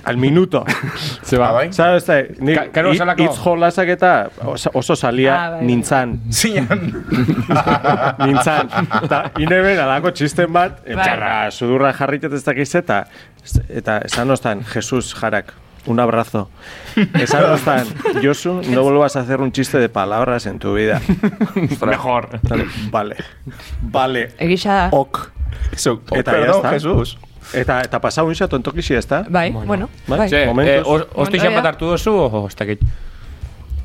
[SPEAKER 5] al minuto. *laughs*
[SPEAKER 3] Ze
[SPEAKER 2] Ah, bai?
[SPEAKER 5] Zara, ez da, nik
[SPEAKER 3] Ka- karo
[SPEAKER 5] hi-
[SPEAKER 3] zelako?
[SPEAKER 5] hitz jolasak eta oso- oso salia
[SPEAKER 4] Ah, bai, bai.
[SPEAKER 5] nintzan.
[SPEAKER 2] Zinan.
[SPEAKER 5] nintzan. Eta ineben alako txisten bat,
[SPEAKER 4] Bai.
[SPEAKER 5] txarra, sudurra jarritet ez dakiz eta, eta esan ostan, Jesus Jarak, un
[SPEAKER 4] *laughs*
[SPEAKER 5] abrazo. Esan ostan, Josu, no vuelvas a hacer un chiste de palabras en tu
[SPEAKER 4] *laughs*
[SPEAKER 5] vida.
[SPEAKER 3] Mejor.
[SPEAKER 5] Dale, vale, vale,
[SPEAKER 4] Egisa da.
[SPEAKER 5] ok. Eta ya
[SPEAKER 2] Oh, Perdón,
[SPEAKER 5] está.
[SPEAKER 2] Jesus.
[SPEAKER 5] Eta, eta pasau inxa tontokixi, ez da?
[SPEAKER 4] Bai, bueno,
[SPEAKER 5] Bai.
[SPEAKER 4] bai.
[SPEAKER 3] Ze,
[SPEAKER 5] Momentuz.
[SPEAKER 3] eh, os- ostizan
[SPEAKER 4] Bueno,
[SPEAKER 3] bat
[SPEAKER 4] ja.
[SPEAKER 3] hartu duzu, ojo, ez dakit.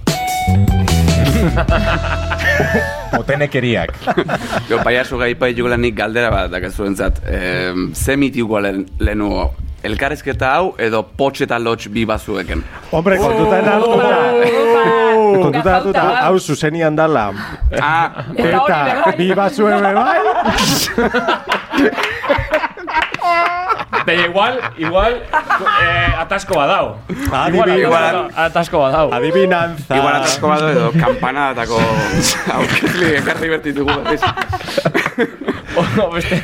[SPEAKER 2] *laughs* Otenekeriak.
[SPEAKER 6] Jo, paiasu gai pai nik galdera bat dakazuen zat. Eh, ze mitiko lehen, lehenugo? Elkarrezketa hau edo potxe eta lotx bi bazueken.
[SPEAKER 4] Oh.
[SPEAKER 5] Hombre, kontutan hartuta.
[SPEAKER 4] Opa.
[SPEAKER 5] Kontutan hartuta,
[SPEAKER 4] Gauza,
[SPEAKER 5] hau zuzenian dala.
[SPEAKER 6] Ah,
[SPEAKER 4] Eta hori be *laughs*
[SPEAKER 5] Eta,
[SPEAKER 4] bai.
[SPEAKER 5] bi bazuen be bai.
[SPEAKER 3] Baina igual, igual, eh, atasko badao.
[SPEAKER 5] Adibi-
[SPEAKER 3] igual, atasko badao.
[SPEAKER 5] Adivinanza.
[SPEAKER 6] Igual atasko badu edo kanpanadako *laughs* aurkezli ekarri bertitugu berriz.
[SPEAKER 3] Oso, beste,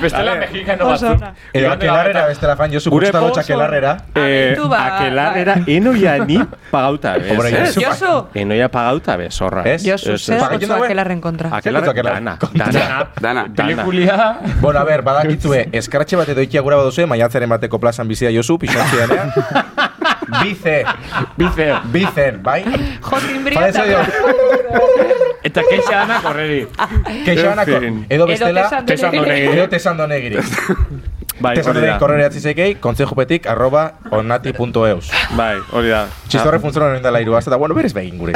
[SPEAKER 3] bestela mexikano
[SPEAKER 4] Oso
[SPEAKER 3] batzu.
[SPEAKER 4] ona.
[SPEAKER 2] Edo
[SPEAKER 3] Igande
[SPEAKER 2] akelarrera
[SPEAKER 3] gauetan.
[SPEAKER 2] bestela fan, Josu,
[SPEAKER 5] Gure
[SPEAKER 2] gustado
[SPEAKER 5] pozo.
[SPEAKER 2] txakelarrera.
[SPEAKER 5] Eh,
[SPEAKER 4] Abentu ba-
[SPEAKER 5] Aquelarera enoia ni pagauta bez.
[SPEAKER 2] Hombre,
[SPEAKER 5] eh?
[SPEAKER 2] Josu.
[SPEAKER 4] Josu,
[SPEAKER 5] Enoia pagauta bez, horra.
[SPEAKER 2] Ez?
[SPEAKER 4] Josu,
[SPEAKER 5] Ez,
[SPEAKER 4] zer
[SPEAKER 5] ez.
[SPEAKER 2] Pagaitu
[SPEAKER 4] dago
[SPEAKER 2] dagoen?
[SPEAKER 4] aquelarren kontra?
[SPEAKER 5] Aquelarra
[SPEAKER 2] Zer dut
[SPEAKER 5] dana.
[SPEAKER 2] akelarra?
[SPEAKER 5] Dana.
[SPEAKER 6] Dana.
[SPEAKER 3] Pelikulia,
[SPEAKER 2] Bueno, a ber, badakitzue,
[SPEAKER 5] *laughs*
[SPEAKER 2] eskratxe bat edo ikia gura baduzue, maiatzaren bateko plazan bizia Josu,
[SPEAKER 5] *laughs*
[SPEAKER 2] pixantzianea. Bize,
[SPEAKER 3] bizeo.
[SPEAKER 2] bizen, bai?
[SPEAKER 4] Jotin
[SPEAKER 2] Para eso
[SPEAKER 4] brillo.
[SPEAKER 2] digo,
[SPEAKER 3] Eta keixa ana korreri.
[SPEAKER 2] keixanako,
[SPEAKER 5] En fin.
[SPEAKER 2] edo bestela,
[SPEAKER 4] Edo
[SPEAKER 3] Tesan
[SPEAKER 4] tesandonegiri.
[SPEAKER 3] donegi.
[SPEAKER 2] edo tesando
[SPEAKER 5] *laughs*
[SPEAKER 2] negiri.
[SPEAKER 5] Bai,
[SPEAKER 2] Tesando
[SPEAKER 5] hori
[SPEAKER 2] negiri
[SPEAKER 5] da.
[SPEAKER 2] korrere atzisekei, kontzejupetik, arroba, onati.eus.
[SPEAKER 5] Bai, hori da.
[SPEAKER 2] Txistorre funtzonan egin dela iru, eta bueno, berez behin
[SPEAKER 5] *laughs*
[SPEAKER 2] gure.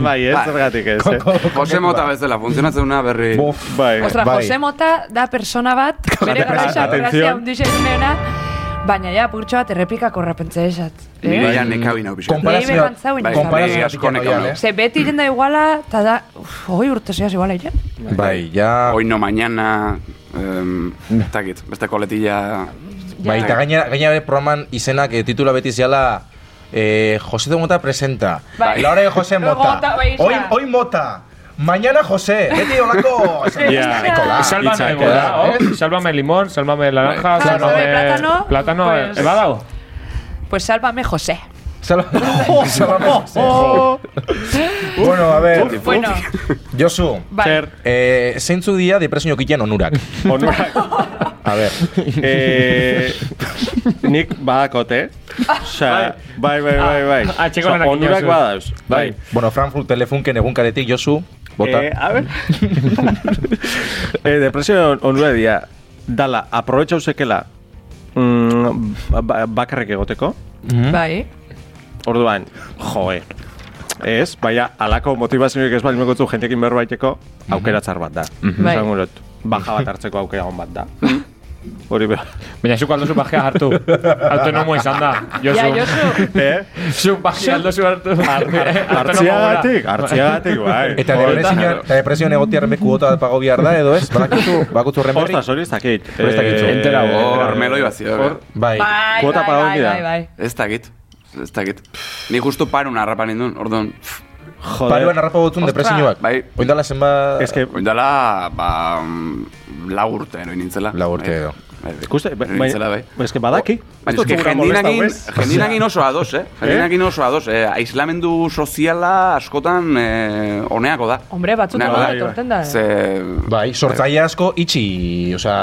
[SPEAKER 5] Bai, ez, zergatik ez. eh?
[SPEAKER 6] Jose mota bezala, funtzionatzen una berri.
[SPEAKER 2] Bof,
[SPEAKER 5] Bai.
[SPEAKER 4] Ostra,
[SPEAKER 2] Bai.
[SPEAKER 4] Jose Mota da persona bat, bere
[SPEAKER 2] persona.
[SPEAKER 4] garaisa
[SPEAKER 5] Atención.
[SPEAKER 4] grazia hundixe baina ja, purtsu bat errepikako errepentze esat. Eh?
[SPEAKER 6] Nire ja nekabin hau pixka.
[SPEAKER 4] Konpara- Ni
[SPEAKER 2] Konparazio,
[SPEAKER 4] beban zauen
[SPEAKER 2] bai,
[SPEAKER 4] izan.
[SPEAKER 2] konparazio
[SPEAKER 6] Asko
[SPEAKER 2] askonek
[SPEAKER 6] nekau,
[SPEAKER 2] hau,
[SPEAKER 4] Ze beti jenda iguala, eta da, uf, hogei urte zehaz iguala ire.
[SPEAKER 2] Bai, ja...
[SPEAKER 6] Hoy no mañana, em, ez dakit, beste koletilla...
[SPEAKER 2] Bai, eta gainera, gainera bere programan izenak eh, titula beti ziala eh, José de Mota presenta,
[SPEAKER 4] Bai.
[SPEAKER 2] la hora de José
[SPEAKER 4] Luego
[SPEAKER 2] Mota,
[SPEAKER 4] Mota, bai,
[SPEAKER 2] hoy,
[SPEAKER 4] isa.
[SPEAKER 2] hoy Mota, mañana José, beti
[SPEAKER 4] *laughs*
[SPEAKER 2] holako...
[SPEAKER 5] Ja.
[SPEAKER 2] Nikola.
[SPEAKER 3] Salvame
[SPEAKER 5] Hitzak,
[SPEAKER 3] gora,
[SPEAKER 2] Ah, eh?
[SPEAKER 3] hor? Salvame Oh, limón, salvame naranja,
[SPEAKER 4] Bai.
[SPEAKER 3] salvame...
[SPEAKER 4] Salvame plátano,
[SPEAKER 3] Plátano,
[SPEAKER 4] pues-
[SPEAKER 3] eh, badao.
[SPEAKER 4] Pues sálvame José.
[SPEAKER 2] Sal-
[SPEAKER 4] *laughs*
[SPEAKER 2] Salvame José. *laughs* Bueno, a ver,
[SPEAKER 4] Bueno,
[SPEAKER 2] Josu,
[SPEAKER 4] bai.
[SPEAKER 5] Zer,
[SPEAKER 2] eh, zeintzu dira depresioak ikian onurak?
[SPEAKER 5] onurak.
[SPEAKER 2] A
[SPEAKER 4] *laughs*
[SPEAKER 2] ver,
[SPEAKER 5] Eh,
[SPEAKER 3] *laughs*
[SPEAKER 5] nik badakot, eh? Osa, bai, bai, bai, bai.
[SPEAKER 3] Ah, atxeko
[SPEAKER 5] Osea,
[SPEAKER 3] lanak
[SPEAKER 5] Onurak
[SPEAKER 3] inozu.
[SPEAKER 5] badauz. Bai.
[SPEAKER 3] Bai.
[SPEAKER 2] bueno, Frankfurt telefunken egunkaretik, Josu, bota.
[SPEAKER 5] Eh, a ver. *laughs* eh, depresio onura dia. Dala, aprobetxa usekela mm, ba- bakarrik egoteko.
[SPEAKER 4] Bai.
[SPEAKER 5] Orduan, joe. Ez, baina alako motivazioik ez bali mekotzu jentekin berbaiteko aukeratzar bat da.
[SPEAKER 4] Bai.
[SPEAKER 5] Esango dut, baja bat hartzeko aukera hon bat da. Hori be.
[SPEAKER 3] Baina zuk aldozu bajea hartu. Autonomo izan da,
[SPEAKER 4] Ja,
[SPEAKER 3] Josu. *laughs*
[SPEAKER 4] Josu,
[SPEAKER 5] *laughs* Eh?
[SPEAKER 3] Zuk bajea aldozu hartu.
[SPEAKER 5] Artziagatik, artziagatik, bai.
[SPEAKER 2] Eta depresioan, eta depresioan egotiarren beku gota bat pago bihar da, edo ez? Badakizu, bakutu horren berri?
[SPEAKER 5] Ostras, hori ez dakit. Eh,
[SPEAKER 2] Hori ez dakit. Entera,
[SPEAKER 6] Hor, meloi bazio.
[SPEAKER 5] Hor-
[SPEAKER 2] Bai.
[SPEAKER 4] bai,
[SPEAKER 5] Kuota
[SPEAKER 4] bai,
[SPEAKER 5] pagau
[SPEAKER 4] bai,
[SPEAKER 5] dira.
[SPEAKER 4] bai, bai.
[SPEAKER 6] Ez dakit, ez dakit. Ni justu parun harrapan indun, orduan,
[SPEAKER 5] Joder.
[SPEAKER 2] Paruan arrapa botun depresioak.
[SPEAKER 6] Bai.
[SPEAKER 2] Oindala zenba...
[SPEAKER 5] Ez que, bai.
[SPEAKER 6] oindala, ba, mm, lau urte ero nintzela.
[SPEAKER 2] Lau urte
[SPEAKER 6] Bai,
[SPEAKER 2] edo.
[SPEAKER 6] bai, bai.
[SPEAKER 5] ikuste,
[SPEAKER 6] Ero nintzela,
[SPEAKER 5] baina,
[SPEAKER 6] bai.
[SPEAKER 5] ez que badaki.
[SPEAKER 6] Baina,
[SPEAKER 5] Ez
[SPEAKER 6] eske,
[SPEAKER 5] dut gura
[SPEAKER 6] jendinakin,
[SPEAKER 5] molesta, hues.
[SPEAKER 6] jendinakin oso ados, eh? Jendinakin oso ados. Eh, aislamendu soziala askotan eh, oneako da.
[SPEAKER 4] Hombre, batzuk
[SPEAKER 6] Nago,
[SPEAKER 4] horrela
[SPEAKER 6] bai,
[SPEAKER 4] etortzen da. eh?
[SPEAKER 6] Ze,
[SPEAKER 2] Bai, sortzaile asko itxi, osea,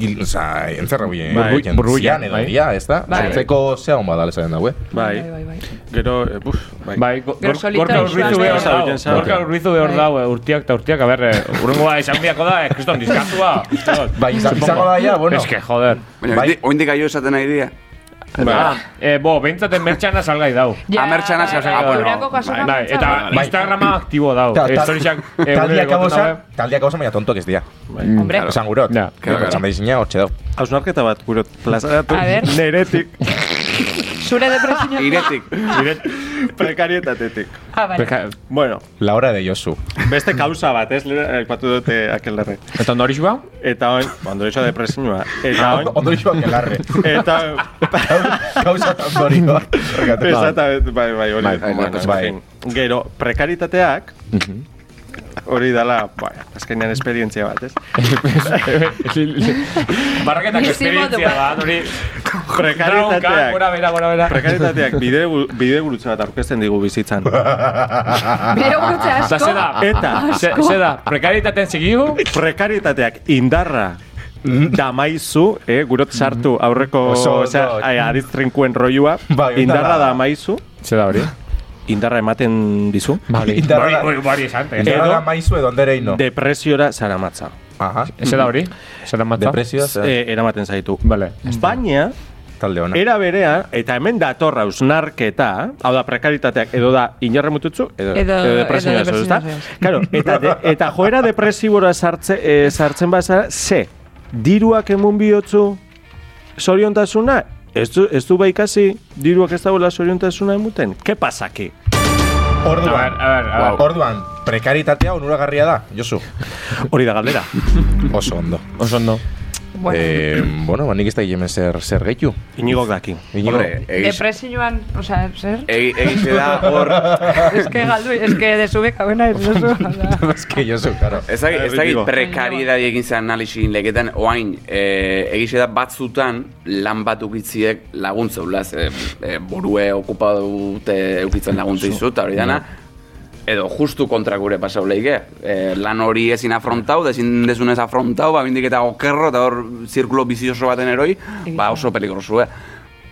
[SPEAKER 2] gil, osea, entzerra eh, huien.
[SPEAKER 5] Bai,
[SPEAKER 2] burbuian edo,
[SPEAKER 3] bai.
[SPEAKER 2] ja, ez da?
[SPEAKER 4] Bai.
[SPEAKER 2] Sortzeko zea hon badala esaten daue.
[SPEAKER 5] Bai,
[SPEAKER 4] bai, bai.
[SPEAKER 5] gero, eh, buf, bai.
[SPEAKER 3] Bai, go-
[SPEAKER 4] Gero
[SPEAKER 3] gor-
[SPEAKER 4] solito
[SPEAKER 3] gorka
[SPEAKER 4] joan
[SPEAKER 3] urrizu
[SPEAKER 4] da.
[SPEAKER 3] behor
[SPEAKER 5] Egiten
[SPEAKER 3] dau,
[SPEAKER 5] zau.
[SPEAKER 3] gorka urrizu behor
[SPEAKER 4] Bai.
[SPEAKER 3] dau, eh, urtiak eta urtiak, a ber, eh, urrengoa esan biako da, eh, kriston diskatua.
[SPEAKER 2] Bai, izan- izango da ja, bueno.
[SPEAKER 3] Es que, joder.
[SPEAKER 6] baina,
[SPEAKER 2] Bai.
[SPEAKER 6] oindi- oindik aio esaten ari dira.
[SPEAKER 5] Bai. Ba,
[SPEAKER 3] Ah, eh, bo, bentsaten mertxana salgai dau.
[SPEAKER 4] Ja,
[SPEAKER 6] Amertxana
[SPEAKER 4] bai,
[SPEAKER 6] zehazak,
[SPEAKER 4] bai,
[SPEAKER 6] ah, bueno,
[SPEAKER 4] urako kasuan
[SPEAKER 3] Bai,
[SPEAKER 4] amertxana.
[SPEAKER 3] eta
[SPEAKER 2] Bai.
[SPEAKER 3] Instagrama aktibo dau.
[SPEAKER 2] Ta- ta-
[SPEAKER 3] Historiak
[SPEAKER 2] *laughs* Taldiak hauza, taldiak hauza, baina tontoak ez dira.
[SPEAKER 4] bai. Hombre,
[SPEAKER 2] Esan gurot.
[SPEAKER 3] Ja.
[SPEAKER 6] Claro, claro.
[SPEAKER 2] Esan da izina, hortxe dau.
[SPEAKER 5] Hausnarketa bat, gure plazaratu
[SPEAKER 4] A ver.
[SPEAKER 5] neretik,
[SPEAKER 4] zure depresioa.
[SPEAKER 6] Iretik.
[SPEAKER 5] prekarietatetik.
[SPEAKER 4] Ah, bai.
[SPEAKER 5] Bueno,
[SPEAKER 2] La hora de Josu.
[SPEAKER 5] beste kausa bat, ez, lera, aipatu dute akelarre.
[SPEAKER 3] Eta ondori xua?
[SPEAKER 5] Eta on, ondorioa depresioa. Eta on,
[SPEAKER 2] *laughs* Ondo joan gelarre.
[SPEAKER 5] eta...
[SPEAKER 2] Gauza eta ondorioa. Horregatik.
[SPEAKER 5] Pesata, bai, bai, hori.
[SPEAKER 2] Bai,
[SPEAKER 5] Bueno,
[SPEAKER 2] bai.
[SPEAKER 5] en fin. Gero, prekaritateak, hori dala, bai, azkenean esperientzia bat, *laughs* ez?
[SPEAKER 3] Barraketak
[SPEAKER 4] Bizimodu.
[SPEAKER 3] esperientzia bat, hori. Dauka, gora
[SPEAKER 5] Prekaritateak.
[SPEAKER 3] bera, gora bera.
[SPEAKER 5] Prekaritateak bide, bide gurutze bat aurkezten digu bizitzan.
[SPEAKER 4] Bide gurutze eh?
[SPEAKER 3] Eta
[SPEAKER 4] asko. Ah,
[SPEAKER 3] ze da,
[SPEAKER 5] Eta-
[SPEAKER 3] ze, ze da, prekaritaten segigu,
[SPEAKER 5] Prekaritateak indarra damaizu, eh, gurot sartu aurreko
[SPEAKER 2] Mm-hmm. Oso ondo.
[SPEAKER 5] osea, ai, aditz trinkuen roiua,
[SPEAKER 2] *laughs* Bai, eta
[SPEAKER 5] indarra
[SPEAKER 2] da.
[SPEAKER 5] damaizu,
[SPEAKER 3] Ze da hori?
[SPEAKER 5] indarra ematen dizu,
[SPEAKER 3] Bari,
[SPEAKER 2] Indarra
[SPEAKER 3] bari,
[SPEAKER 2] da-
[SPEAKER 3] bari, bari esan. eh.
[SPEAKER 2] Entrada
[SPEAKER 5] Edo-
[SPEAKER 2] da maizu edo ondere ino.
[SPEAKER 5] depresiora zara matza.
[SPEAKER 2] Aha.
[SPEAKER 3] Ze da hori? Ze da matza?
[SPEAKER 2] Depresioa, zea.
[SPEAKER 5] Eh, eramaten zaitu.
[SPEAKER 3] Vale.
[SPEAKER 5] Baina,
[SPEAKER 2] Talde hona.
[SPEAKER 5] Era berean, eta hemen dator hausnarketa, hau da prekaritateak, edo da inarre mututzu, edo,
[SPEAKER 4] Edo-
[SPEAKER 5] edo, depresioa
[SPEAKER 4] edo
[SPEAKER 5] zeu, ezta?
[SPEAKER 4] depresioa
[SPEAKER 5] Claro, eta, de, eta joera depresibora sartze, eh, sartzen bazara, ze, diruak emun bihotzu zoriontasuna, ez du, ez du baikasi, diruak ez dagoela zoriontasuna emuten, ke pasaki?
[SPEAKER 3] A ver,
[SPEAKER 2] Orduan.
[SPEAKER 3] a ver, a ver.
[SPEAKER 2] Orduan, prekaritatea onuragarria da, Josu.
[SPEAKER 5] Hori da galdera.
[SPEAKER 2] Oso ondo.
[SPEAKER 3] Oso ondo.
[SPEAKER 4] Bueno.
[SPEAKER 2] Eh, bueno, ba, nik ez da hemen zer, zer gehiu.
[SPEAKER 5] Inigok daki.
[SPEAKER 2] Iñigo,
[SPEAKER 6] Hombre, egiz-
[SPEAKER 4] Depresioan, osea, zer?
[SPEAKER 6] egi- egize da hor...
[SPEAKER 4] *laughs* Eske galdu, eske desubeka bena ez duzu.
[SPEAKER 2] es que yo soy,
[SPEAKER 3] *laughs*
[SPEAKER 2] claro.
[SPEAKER 6] Ez dakit- ez dakit
[SPEAKER 5] Errepiko.
[SPEAKER 6] prekariedadi egin zen analizin leketan, oain, e, egize da batzutan lan bat ukitziek laguntzeula, ze e, burue okupa dute eukitzen laguntze izut, eta hori dana, edo justu kontra gure pasau lehike. E, lan hori ezin afrontau, da ezin dezunez afrontau, ba bindik eta okerro, eta hor zirkulo bizioso baten eroi, ba oso peligrosu, eh.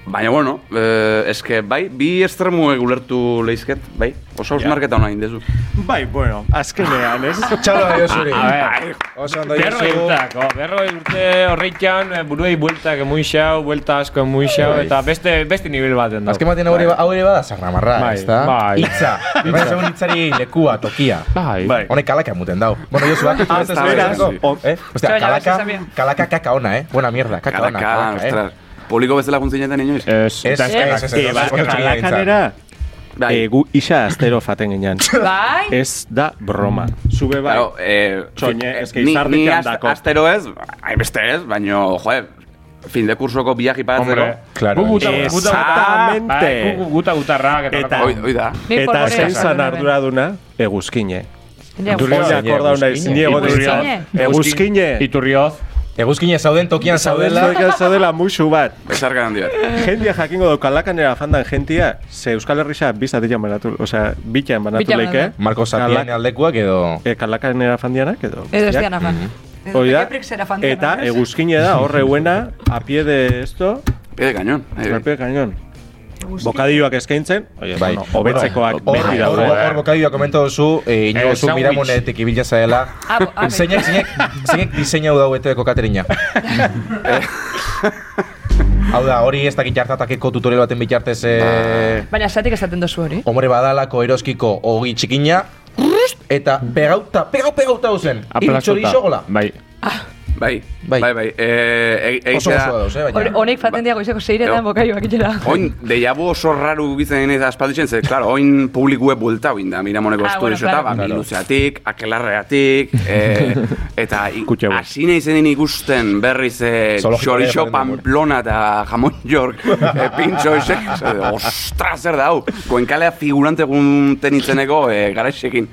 [SPEAKER 6] Baina, bueno, eh, eske, bai, bi estremuek ulertu leizket, bai, oso hausnarketa hona indezu.
[SPEAKER 5] Bai, bueno, azkenean, ez?
[SPEAKER 2] Txalo da jozuri.
[SPEAKER 3] A ber,
[SPEAKER 2] Oso ondo
[SPEAKER 3] berro
[SPEAKER 2] jozu.
[SPEAKER 3] urtak, oh, berro urte horreikan, eh, buruei bueltak emun xau, buelta asko emun xau, eta beste, beste este, nivel baten da.
[SPEAKER 2] Azken batean hau ere ba- hau ere bada zagramarra,
[SPEAKER 3] Bai,
[SPEAKER 2] ez da?
[SPEAKER 3] bai.
[SPEAKER 2] Itza. Baina zegoen itzari lekua, tokia.
[SPEAKER 3] Bai.
[SPEAKER 5] Bai.
[SPEAKER 2] Honek kalaka muten dau. Bueno, yo suak. Ah,
[SPEAKER 6] está bien, sí.
[SPEAKER 2] Eh? Ostia,
[SPEAKER 4] Yo ya ves
[SPEAKER 2] kalaka,
[SPEAKER 4] esa bien.
[SPEAKER 2] kalaka kaka ona, eh? Buena mierda, kaka ona,
[SPEAKER 6] Kalaka,
[SPEAKER 2] kalaka, eh?
[SPEAKER 6] ostras. Publiko bezala guntzinetan inoiz.
[SPEAKER 3] Ez,
[SPEAKER 2] Ez,
[SPEAKER 3] eta-
[SPEAKER 2] ez, ez, ez, oso txikia nintzen.
[SPEAKER 5] Alakanera,
[SPEAKER 6] Bai.
[SPEAKER 5] eh, gu isa astero faten ginen.
[SPEAKER 4] Bai?
[SPEAKER 5] Ez da broma. Zube bai.
[SPEAKER 6] Claro, eh,
[SPEAKER 5] Txoine,
[SPEAKER 6] eh,
[SPEAKER 5] eske
[SPEAKER 6] ni-
[SPEAKER 5] izardik
[SPEAKER 6] ni az-
[SPEAKER 5] handako.
[SPEAKER 6] Astero ez, hainbeste ez, baino, joe, fin de kursoko biaji
[SPEAKER 3] Hombre,
[SPEAKER 6] pagatzeko.
[SPEAKER 2] Claro,
[SPEAKER 3] Gu guta,
[SPEAKER 5] ez.
[SPEAKER 3] guta, guta,
[SPEAKER 5] Exactamente.
[SPEAKER 3] bai, gu guta gutarrak eta
[SPEAKER 5] Eta-
[SPEAKER 3] horrelako.
[SPEAKER 6] Hoi, hoi da.
[SPEAKER 4] Ni
[SPEAKER 5] Eta
[SPEAKER 4] polvorea
[SPEAKER 5] zein
[SPEAKER 4] esan
[SPEAKER 5] zan
[SPEAKER 4] duen.
[SPEAKER 5] arduraduna? Eguzkine.
[SPEAKER 4] Nire
[SPEAKER 2] Durri-
[SPEAKER 5] Oia akordauna
[SPEAKER 2] Eguzkine.
[SPEAKER 5] izin diego
[SPEAKER 4] Eguzkine.
[SPEAKER 5] deitzen. Eguzkine.
[SPEAKER 3] Iturrioz.
[SPEAKER 2] Eguzkine zauden tokian zaudela.
[SPEAKER 5] Zaudela. Zaudela musu bat.
[SPEAKER 6] Bezarka handi bat.
[SPEAKER 5] Jendia jakingo dau kalakanera fandan jentia, ze Euskal Herrisa bizatian banatu, osea, bitan banatu
[SPEAKER 4] Bitan
[SPEAKER 5] leike.
[SPEAKER 4] banatu.
[SPEAKER 2] Marco Satian
[SPEAKER 5] Kalak-
[SPEAKER 2] aldekuak edo...
[SPEAKER 5] eh, kalakanera fandianak edo.
[SPEAKER 4] Edo ez
[SPEAKER 5] guztiak.
[SPEAKER 4] dian afan. Edo
[SPEAKER 5] Hori da,
[SPEAKER 4] Pekeprixera fan dian,
[SPEAKER 5] eta
[SPEAKER 4] ez?
[SPEAKER 5] eguzkine da, horre buena, a pie de esto,
[SPEAKER 6] Pide kañon. Ahí,
[SPEAKER 5] a pie de cañón.
[SPEAKER 4] Eguzki-
[SPEAKER 5] Bokadioak eskaintzen, oie,
[SPEAKER 2] Bai.
[SPEAKER 5] bueno, hobetzekoak
[SPEAKER 2] Hor-
[SPEAKER 5] beti
[SPEAKER 2] hor-
[SPEAKER 5] daude.
[SPEAKER 2] Hor bokadioa komento duzu, eh, inigo
[SPEAKER 3] Eh,
[SPEAKER 2] zu
[SPEAKER 3] sandwich.
[SPEAKER 2] miramonetik ibila zaela.
[SPEAKER 4] Ah, bo- ah, bai.
[SPEAKER 2] Zeinek, zeinek, zeinek diseinau dau eteeko katerina. Hau da, hori ez dakit jartatakeko tutorial baten bitartez eh,
[SPEAKER 4] Baina zatik esaten duzu hori.
[SPEAKER 2] Hombre badalako eroskiko ogi txikina rrrst, eta pegauta, pegau pegauta duzen. Iltxori xogola.
[SPEAKER 3] Bai.
[SPEAKER 6] Bai,
[SPEAKER 2] Bai.
[SPEAKER 6] bai, bai. bai. Eh, e,
[SPEAKER 2] Oso gozoa dauz, eh,
[SPEAKER 4] Hor-
[SPEAKER 2] baina.
[SPEAKER 4] Honek faten diago izeko seiretan
[SPEAKER 6] Eo.
[SPEAKER 4] bokaioak itxera.
[SPEAKER 6] Oin, dejabu oso raro gugitzen ez aspalditzen, ze, klaro, oin publikue bulta binda, miramoneko
[SPEAKER 4] Ah,
[SPEAKER 6] ah,
[SPEAKER 4] bueno,
[SPEAKER 6] estu bueno,
[SPEAKER 4] claro.
[SPEAKER 6] ba, minuzeatik, akelarreatik,
[SPEAKER 4] *laughs*
[SPEAKER 6] eh, eta i-
[SPEAKER 5] Kutxa bat.
[SPEAKER 6] hasi nahi zenin ikusten berriz eh,
[SPEAKER 2] Zoologikoa
[SPEAKER 6] chorizo
[SPEAKER 2] ere jarri dugu.
[SPEAKER 6] pamplona eta jamon
[SPEAKER 3] *laughs*
[SPEAKER 6] york, eh, pintxo esek, ostras, zer da, hau, koenkalea figurante egun tenitzeneko eh, garaisekin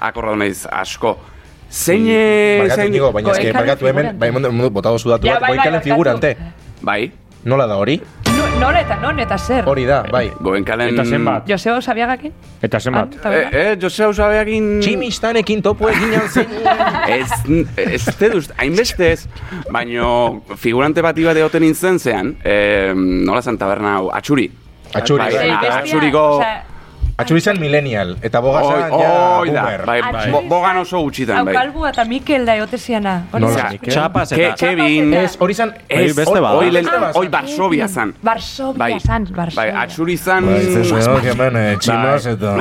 [SPEAKER 6] akorda naiz asko. Zein, eh,
[SPEAKER 2] Barkatu
[SPEAKER 6] zein,
[SPEAKER 2] inigo,
[SPEAKER 3] bai.
[SPEAKER 2] baina eske
[SPEAKER 4] Goenkalen
[SPEAKER 2] barkatu hemen,
[SPEAKER 4] figurante.
[SPEAKER 2] bai mundu mundu botado zu datu
[SPEAKER 4] Ja,
[SPEAKER 2] bat,
[SPEAKER 4] bai, bai,
[SPEAKER 2] goikalen
[SPEAKER 4] barkatu.
[SPEAKER 2] figurante.
[SPEAKER 6] bai,
[SPEAKER 2] Nola da hori?
[SPEAKER 4] Nu- Non eta non eta zer.
[SPEAKER 2] Hori da, bai.
[SPEAKER 6] goenkalen...
[SPEAKER 3] Eta zenbat?
[SPEAKER 4] Joseba Osabiagakin?
[SPEAKER 3] Eta zenbat?
[SPEAKER 4] Anta, bera?
[SPEAKER 6] Eh, eh, Jose Ausabeakin...
[SPEAKER 2] Tximistanekin topoekin alzen.
[SPEAKER 6] Ez, ez te duz, hainbeste ez, baino figurante bati bat egoten nintzen zean, eh, nola zen taberna hau, atxuri.
[SPEAKER 2] Atxuri,
[SPEAKER 6] Bai,
[SPEAKER 4] Sei
[SPEAKER 2] bai.
[SPEAKER 6] bai.
[SPEAKER 4] Eh, bestia,
[SPEAKER 6] Atxuriko-
[SPEAKER 4] osea,
[SPEAKER 2] Atxuri zen millennial, eta boga
[SPEAKER 6] Oi,
[SPEAKER 2] zen ja
[SPEAKER 6] oi da,
[SPEAKER 2] boomer.
[SPEAKER 6] bai,
[SPEAKER 4] Atxuri
[SPEAKER 6] bo-
[SPEAKER 4] zen-
[SPEAKER 6] bogan oso gutxitan,
[SPEAKER 4] Hau
[SPEAKER 6] bai.
[SPEAKER 4] kalbua eta Mikel da egoteziana. Hori Ah,
[SPEAKER 2] Nola,
[SPEAKER 4] da.
[SPEAKER 2] Mikel?
[SPEAKER 5] Txapaz
[SPEAKER 6] Ke,
[SPEAKER 4] Bai,
[SPEAKER 5] eta...
[SPEAKER 6] Kevin,
[SPEAKER 4] Txapaz
[SPEAKER 6] ez,
[SPEAKER 2] Hori zen,
[SPEAKER 4] Bai,
[SPEAKER 5] Hori beste bat.
[SPEAKER 6] hoi, lehen-
[SPEAKER 2] Beste bat.
[SPEAKER 6] hoi Varsovia zan.
[SPEAKER 4] Varsovia
[SPEAKER 6] Bai,
[SPEAKER 4] zan, ah, Varsovia.
[SPEAKER 6] Bai,
[SPEAKER 4] *laughs*
[SPEAKER 6] atxuri zan,
[SPEAKER 2] hemen eh,
[SPEAKER 3] txinos
[SPEAKER 2] eta...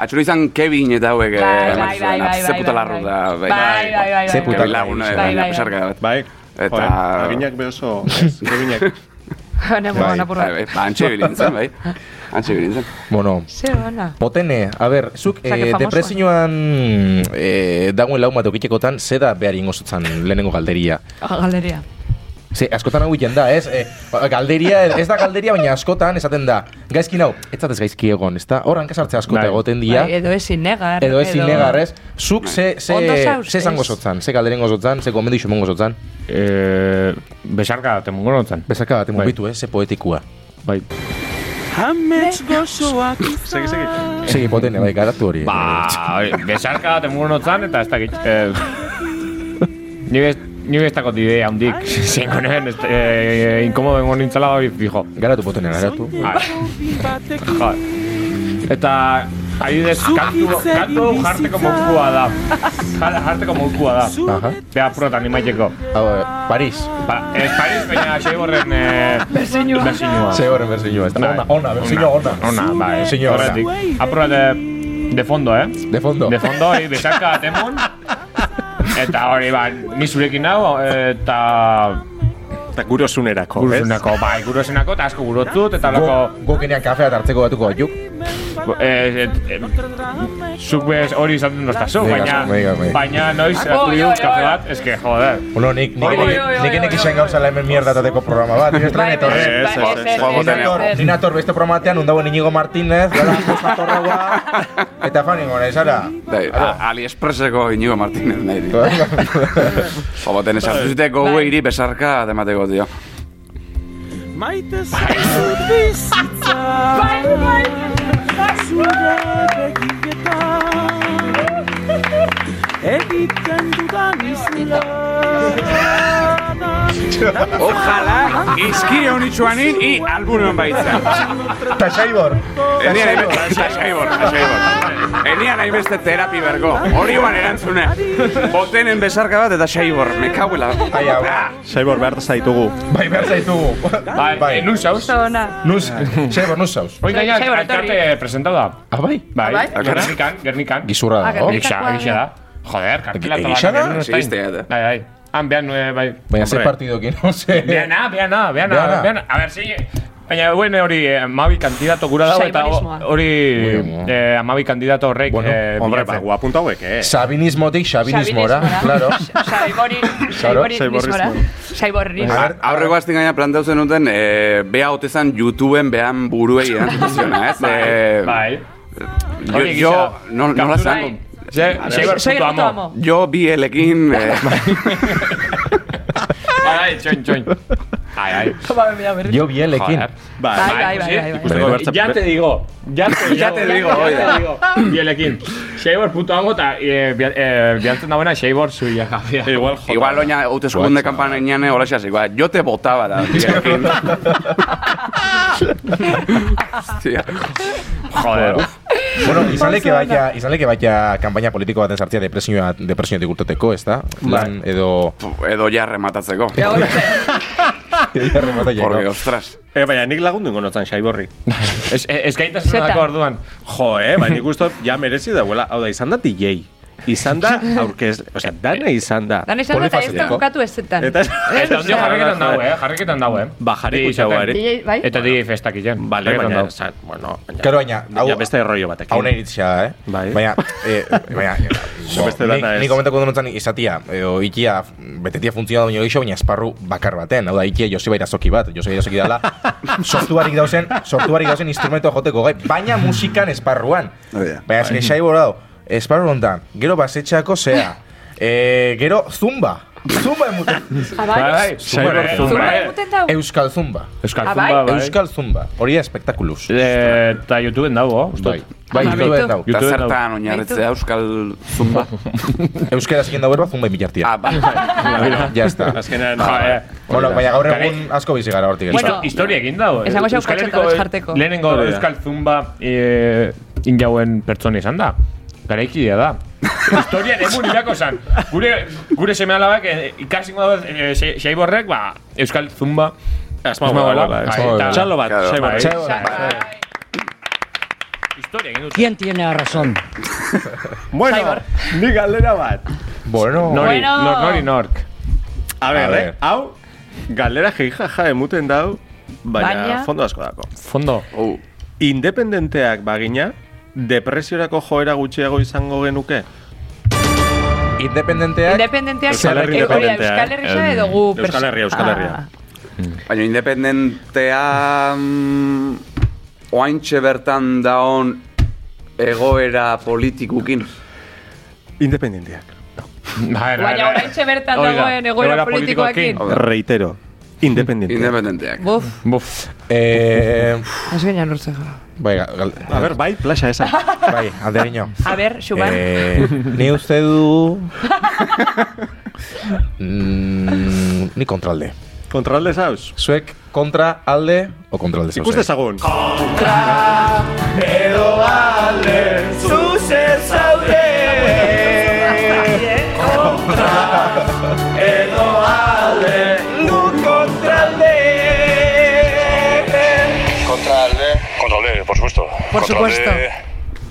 [SPEAKER 6] atxuri zan Kevin eta hauek, eh,
[SPEAKER 4] Bai, bai,
[SPEAKER 6] eman zuten,
[SPEAKER 4] bai, bai,
[SPEAKER 6] ze puta
[SPEAKER 4] bai,
[SPEAKER 6] larru
[SPEAKER 4] bai.
[SPEAKER 6] da, bai.
[SPEAKER 4] Bai, bai, bai,
[SPEAKER 2] Ze
[SPEAKER 4] bai,
[SPEAKER 2] puta
[SPEAKER 4] bai.
[SPEAKER 6] Kevin laguna,
[SPEAKER 4] Bai,
[SPEAKER 6] bai,
[SPEAKER 4] bai, bai.
[SPEAKER 6] pesarka bat.
[SPEAKER 5] Bai,
[SPEAKER 6] Eta-
[SPEAKER 5] joder, aginak beso, ez, aginak.
[SPEAKER 4] Hone,
[SPEAKER 2] Bai.
[SPEAKER 4] bona, burra.
[SPEAKER 6] Bai, bai, ba, antxe bilintzen, bai. Antxe bilintzen.
[SPEAKER 2] Bueno,
[SPEAKER 4] Zer ona.
[SPEAKER 2] potene, a ber, zuk
[SPEAKER 4] Osea, que
[SPEAKER 2] eh,
[SPEAKER 4] famosoa.
[SPEAKER 2] depresioan eh, dagoen lauma tokitekotan, ze da behar ingozutzen lehenengo galderia.
[SPEAKER 4] Ah, Galeria.
[SPEAKER 2] Ze, askotan hau egiten da, ez? Eh, galderia, ez da galderia, baina askotan esaten da. Gaizki nau, ez zatez gaizki egon, ez da? Hor hankasartze askota
[SPEAKER 3] Bai.
[SPEAKER 2] egoten dira.
[SPEAKER 4] Bai, edo ezin negar.
[SPEAKER 2] Edo ez inegar, ez? Zuk ze, ze,
[SPEAKER 4] Ondo zauz,
[SPEAKER 2] ze zango
[SPEAKER 4] ez?
[SPEAKER 2] zotzan, ze galderen gozotzan, ze gomendu iso mongo zotzan.
[SPEAKER 3] Eh, besarka da, temungo nontzen.
[SPEAKER 2] Bezaka bat,
[SPEAKER 3] Bai.
[SPEAKER 2] emobitu, ez? Ze poetikua.
[SPEAKER 3] Bai.
[SPEAKER 5] Segi, segi.
[SPEAKER 2] Segi potene, bai, garatu hori.
[SPEAKER 3] Ba, oi, besarka da, temungo nontzen, eta ez dakit. Eh, ni bez, ni bez dakot idea handik. Zengo nuen, ez- eh, inkomodo bengo nintzala hori fijo.
[SPEAKER 2] Garatu potene, garatu.
[SPEAKER 3] Bai. Jo. Eta, adibidez, kantu, kantu hau jarteko mokua da. Ja- Jarteko mokua da.
[SPEAKER 2] Aha.
[SPEAKER 3] Bea protan imaiteko.
[SPEAKER 2] Hau, eh, Paris.
[SPEAKER 3] Ba, ez Paris, baina Xeiborren... Eh,
[SPEAKER 4] Bersinua.
[SPEAKER 3] Bersinua.
[SPEAKER 2] Ze horren berzinua, ez da?
[SPEAKER 3] Bai.
[SPEAKER 2] Ona, ona, berzinua ona.
[SPEAKER 3] Ona, bai.
[SPEAKER 2] Bersinua ona.
[SPEAKER 3] Horretik. Apura de, de fondo, eh?
[SPEAKER 2] De fondo.
[SPEAKER 3] De fondo, hi, besarka atemun. Eta hori, ba, ni zurekin hau, eta...
[SPEAKER 5] Eta gurosunerako, ez?
[SPEAKER 3] Gurosenako, bai, gurosenako, eta asko gurotzut, eta
[SPEAKER 2] Gu-
[SPEAKER 3] lako...
[SPEAKER 2] Gukenean kafea tartzeko batuko batzuk.
[SPEAKER 3] eh, eh, zuk bez hori izaten dozta zu,
[SPEAKER 2] Bai,
[SPEAKER 3] baina,
[SPEAKER 2] bai, bai.
[SPEAKER 3] baina noiz
[SPEAKER 4] Oi,
[SPEAKER 3] hartu
[SPEAKER 4] oi,
[SPEAKER 3] diut
[SPEAKER 4] oi,
[SPEAKER 3] kafe
[SPEAKER 4] oi.
[SPEAKER 3] bat, eske, joder.
[SPEAKER 2] Bueno, nik nik
[SPEAKER 3] Oi, oi,
[SPEAKER 2] nik-
[SPEAKER 4] oi,
[SPEAKER 2] nik nik
[SPEAKER 4] oi,
[SPEAKER 2] isen
[SPEAKER 4] oi,
[SPEAKER 2] gauzala hemen mierda tateko programa bat. Ni
[SPEAKER 4] Bai,
[SPEAKER 2] ez tren etorri.
[SPEAKER 4] bai,
[SPEAKER 3] Ez,
[SPEAKER 4] bai, ez,
[SPEAKER 3] ez,
[SPEAKER 4] ez,
[SPEAKER 3] ez,
[SPEAKER 2] Ni
[SPEAKER 6] joango
[SPEAKER 4] ez,
[SPEAKER 2] nator-
[SPEAKER 6] zenean.
[SPEAKER 4] ez.
[SPEAKER 2] Ni nator beste programatean undauen Inigo Martínez, gara Costa Torragoa, eta fan ingo nahi zara.
[SPEAKER 6] Dai, Bai, a- Aliexpresseko Inigo Martínez nahi dit. *laughs* Jobaten esartu ziteko
[SPEAKER 4] Bai.
[SPEAKER 6] gueiri besarka demateko, tio.
[SPEAKER 7] Maite zaizut bizitza Bai, bai, Zure begietan Egiten dudan izlana
[SPEAKER 6] Ojalá izkire honitxuanin i albunon baitza.
[SPEAKER 2] Eta Xaibor.
[SPEAKER 6] Enian hainbeste, saibor, saibor. Enian hainbeste terapi bergo. Hori guan erantzune. Botenen besarka bat eta saibor, mekabuela.
[SPEAKER 2] Ai, hau.
[SPEAKER 5] Saibor behar zaitugu.
[SPEAKER 2] Bai, behar zaitugu.
[SPEAKER 3] Bai,
[SPEAKER 2] Bai.
[SPEAKER 3] bai. nun zauz?
[SPEAKER 4] Oso ona.
[SPEAKER 2] Nus, Xaibor, nus zauz.
[SPEAKER 3] Hoi gaina,
[SPEAKER 4] Sai, bora, etorri.
[SPEAKER 3] alkate presentau da.
[SPEAKER 2] Ah, bai?
[SPEAKER 3] Bai,
[SPEAKER 4] bai?
[SPEAKER 3] Gernikan, Gernikan.
[SPEAKER 2] Gizurra
[SPEAKER 4] Ah,
[SPEAKER 2] dago.
[SPEAKER 4] gernika.
[SPEAKER 3] Egisa, egisa da. eh? Joder, eh? kartela
[SPEAKER 2] Egisa da?
[SPEAKER 3] eta bakarrik ez da.
[SPEAKER 6] Existe, eta.
[SPEAKER 3] Bai, bai. Han, behan, eh, bai.
[SPEAKER 2] Baina ze
[SPEAKER 3] Hombre.
[SPEAKER 2] partidokin, no sé.
[SPEAKER 3] Beana, beana, beana,
[SPEAKER 2] Beana.
[SPEAKER 3] beana. A ber, si... Baina, bueno, hori, eh, amabi kandidato gura dago, eta
[SPEAKER 4] Saibonismoa.
[SPEAKER 3] hori,
[SPEAKER 2] Bueno.
[SPEAKER 3] eh, amabi kandidato horrek,
[SPEAKER 2] Bueno,
[SPEAKER 3] eh,
[SPEAKER 5] Hombre, ba,
[SPEAKER 3] bilatzen.
[SPEAKER 5] guapunta hauek, eh?
[SPEAKER 2] Sabinismotik, sabinismora,
[SPEAKER 4] *laughs*
[SPEAKER 2] claro.
[SPEAKER 4] Saibori,
[SPEAKER 5] Saiborismora.
[SPEAKER 4] saibori, saibori.
[SPEAKER 6] Aurreko azten gaina plantau zen duten, e, bea hote zen YouTubeen behan buruei erantzuziona, ez? E,
[SPEAKER 3] Bai.
[SPEAKER 6] Jo,
[SPEAKER 3] Hori
[SPEAKER 6] jo,
[SPEAKER 3] gisa.
[SPEAKER 6] no, nola
[SPEAKER 3] Kaptura-
[SPEAKER 6] zango?
[SPEAKER 3] Ze- Seibar
[SPEAKER 4] Soy
[SPEAKER 3] puto
[SPEAKER 4] el puto
[SPEAKER 3] amo.
[SPEAKER 4] amo.
[SPEAKER 6] Jo bi elekin, eh,
[SPEAKER 3] Ai, ai, txoin, txoin. Ai, ai.
[SPEAKER 4] Toma, me voy a ver.
[SPEAKER 2] Jo bielekin.
[SPEAKER 3] Joder.
[SPEAKER 4] Bai, bai, bai, bai, bai.
[SPEAKER 3] Ikusteko,
[SPEAKER 5] Bai.
[SPEAKER 3] Ya te digo. Ya te, *laughs* ya te digo.
[SPEAKER 4] Ya te
[SPEAKER 3] Bielekin. Seibor puto amo eta eh, bia- eh, bialtzen dagoena Seibor zuia. Igual, joder.
[SPEAKER 6] igual oina haute eskunde kampanean hola xasik, ba, jo te botaba da. bi elekin. Hostia.
[SPEAKER 3] Joder.
[SPEAKER 2] Bueno, izan leke baita, izan leke baita kanpaina politiko baten sartzea depresioa, depresioetik urteteko, ez da? Lan edo...
[SPEAKER 6] Edo jarre matatzeko. Porque,
[SPEAKER 2] Porque
[SPEAKER 6] ostras.
[SPEAKER 5] Eh, baina nik lagundu ingo notzan Saiborri.
[SPEAKER 3] Ez, ez gaitasunako
[SPEAKER 4] Zeta.
[SPEAKER 3] orduan.
[SPEAKER 5] Jo, eh, baina nik uste dut, ja merezi dauela. Hau da, izan da DJ. Izan da, aurkez, osea, dana izan da.
[SPEAKER 4] Dan esan eta ez da
[SPEAKER 2] Polifaziko.
[SPEAKER 4] bukatu ezetan.
[SPEAKER 5] *laughs* Eta,
[SPEAKER 4] Ah,
[SPEAKER 3] Eta ondio jarriketan dago, eh? Jarriketan dago, eh?
[SPEAKER 5] Ba, jarriko
[SPEAKER 3] Di-
[SPEAKER 5] izango ere.
[SPEAKER 4] DJ, bai?
[SPEAKER 3] Eta di festak izan.
[SPEAKER 5] Bale, baina, zan, bueno, baina,
[SPEAKER 2] Claro, baina, hau-
[SPEAKER 5] ja beste rollo batekin.
[SPEAKER 2] Hau nahi iritzia da, eh?
[SPEAKER 5] Bai.
[SPEAKER 2] Baina, eh, baina... bo,
[SPEAKER 5] beste dana
[SPEAKER 2] nik-
[SPEAKER 5] ez.
[SPEAKER 2] Nik komentako denutzen izatia, edo eh, ikia, betetia funtziona baino gehiago, baina esparru bakar baten. Hau da, ikia Joseba Irazoki bat. Joseba Irazoki dela, sortu barik dauzen, sortu barik dauzen instrumentoa joteko gai. Baina musikan esparruan.
[SPEAKER 6] Hori da.
[SPEAKER 2] Baina, azken xai bora dau, esparru hontan, gero basetxako zea, eh, gero zumba. Zumba emuten.
[SPEAKER 4] Ah, bai.
[SPEAKER 3] Saibor
[SPEAKER 4] Zumba
[SPEAKER 3] zumba. eh?
[SPEAKER 4] emuten dau.
[SPEAKER 2] Euskal zumba.
[SPEAKER 3] Euskal
[SPEAKER 4] Ah, bai?
[SPEAKER 3] zumba, bai.
[SPEAKER 2] Euskal zumba. Hori da espektakuluz.
[SPEAKER 3] Eh, Eta YouTubeen dago, ustut.
[SPEAKER 2] Bai, bai,
[SPEAKER 4] Ah,
[SPEAKER 2] YouTube
[SPEAKER 4] baitu.
[SPEAKER 2] dau.
[SPEAKER 6] Eta
[SPEAKER 3] YouTube
[SPEAKER 6] zertan oinarritzea euskal zumba.
[SPEAKER 2] Euskara zikin dauer bat, zumba imitartia.
[SPEAKER 6] Ah, ba.
[SPEAKER 2] Ya
[SPEAKER 5] *laughs*
[SPEAKER 2] está.
[SPEAKER 5] Azkenean,
[SPEAKER 3] Ja, eh.
[SPEAKER 2] Bueno, baina gaur egun
[SPEAKER 3] Garai-
[SPEAKER 2] asko bizi gara hortik.
[SPEAKER 4] Bueno,
[SPEAKER 2] Bueno,
[SPEAKER 3] Histo- historia egin dago.
[SPEAKER 4] Esango zeu
[SPEAKER 3] Euskal
[SPEAKER 4] katxeta
[SPEAKER 3] Herriko- e-
[SPEAKER 4] bat jarteko.
[SPEAKER 3] Lehenengo Euskal Zumba eh, injauen pertsona izan da. Garaikidea
[SPEAKER 4] *laughs*
[SPEAKER 3] da. Historia emun hilako zan. Gure, gure seme alabak eh, ikasingo da eh, se- Seiborrek, ba, Euskal Zumba Bai,
[SPEAKER 5] Asmagoa
[SPEAKER 3] asmagoa
[SPEAKER 5] dagoela,
[SPEAKER 3] dagoela.
[SPEAKER 2] asmagoa
[SPEAKER 3] Ahí está.
[SPEAKER 2] dagoela.
[SPEAKER 5] Txalo bat,
[SPEAKER 6] Claro.
[SPEAKER 5] Saibor.
[SPEAKER 3] Bai.
[SPEAKER 2] eh, Txalo
[SPEAKER 3] Historia egin dut.
[SPEAKER 8] ¿Quién tiene la razón?
[SPEAKER 5] Bueno, ni galdera bat.
[SPEAKER 2] bueno.
[SPEAKER 3] Nori,
[SPEAKER 4] Bueno.
[SPEAKER 3] nor, nori nork.
[SPEAKER 5] A
[SPEAKER 2] A
[SPEAKER 5] ber, eh,
[SPEAKER 2] ber.
[SPEAKER 5] hau, galdera jijaja emuten dau, baina
[SPEAKER 4] Baina-
[SPEAKER 5] fondo asko dako.
[SPEAKER 3] Fondo.
[SPEAKER 6] Oh,
[SPEAKER 5] Independenteak bagina, depresiorako joera gutxiago izango genuke?
[SPEAKER 2] independenteak
[SPEAKER 4] Independenteak,
[SPEAKER 5] Euskal Herri
[SPEAKER 4] eh, hori da,
[SPEAKER 5] independentea,
[SPEAKER 4] Euskal
[SPEAKER 5] eh?
[SPEAKER 4] Herria edo gu... ah,
[SPEAKER 5] Euskal Herria, Euskal Herria.
[SPEAKER 6] Baina independentea... mm, Oaintxe bertan daon egoera politikukin.
[SPEAKER 5] Independenteak.
[SPEAKER 3] Bai,
[SPEAKER 4] Baina orain bertan dagoen egoera politikoakin.
[SPEAKER 6] Hau da,
[SPEAKER 5] Reitero, independenteak.
[SPEAKER 6] Independenteak.
[SPEAKER 4] Buf,
[SPEAKER 3] Buf.
[SPEAKER 2] eh
[SPEAKER 4] has gainan urtzeko.
[SPEAKER 2] bai, gal,
[SPEAKER 5] A ber, bai, plaxa esa.
[SPEAKER 4] *laughs*
[SPEAKER 2] bai, alderiño.
[SPEAKER 4] A ber, Xuban.
[SPEAKER 2] Eh, ni uste du mm, ni kontralde.
[SPEAKER 5] Kontralde zauz.
[SPEAKER 2] Zuek kontra alde o kontralde zaude.
[SPEAKER 5] Ikuste zagun.
[SPEAKER 4] Por supuesto.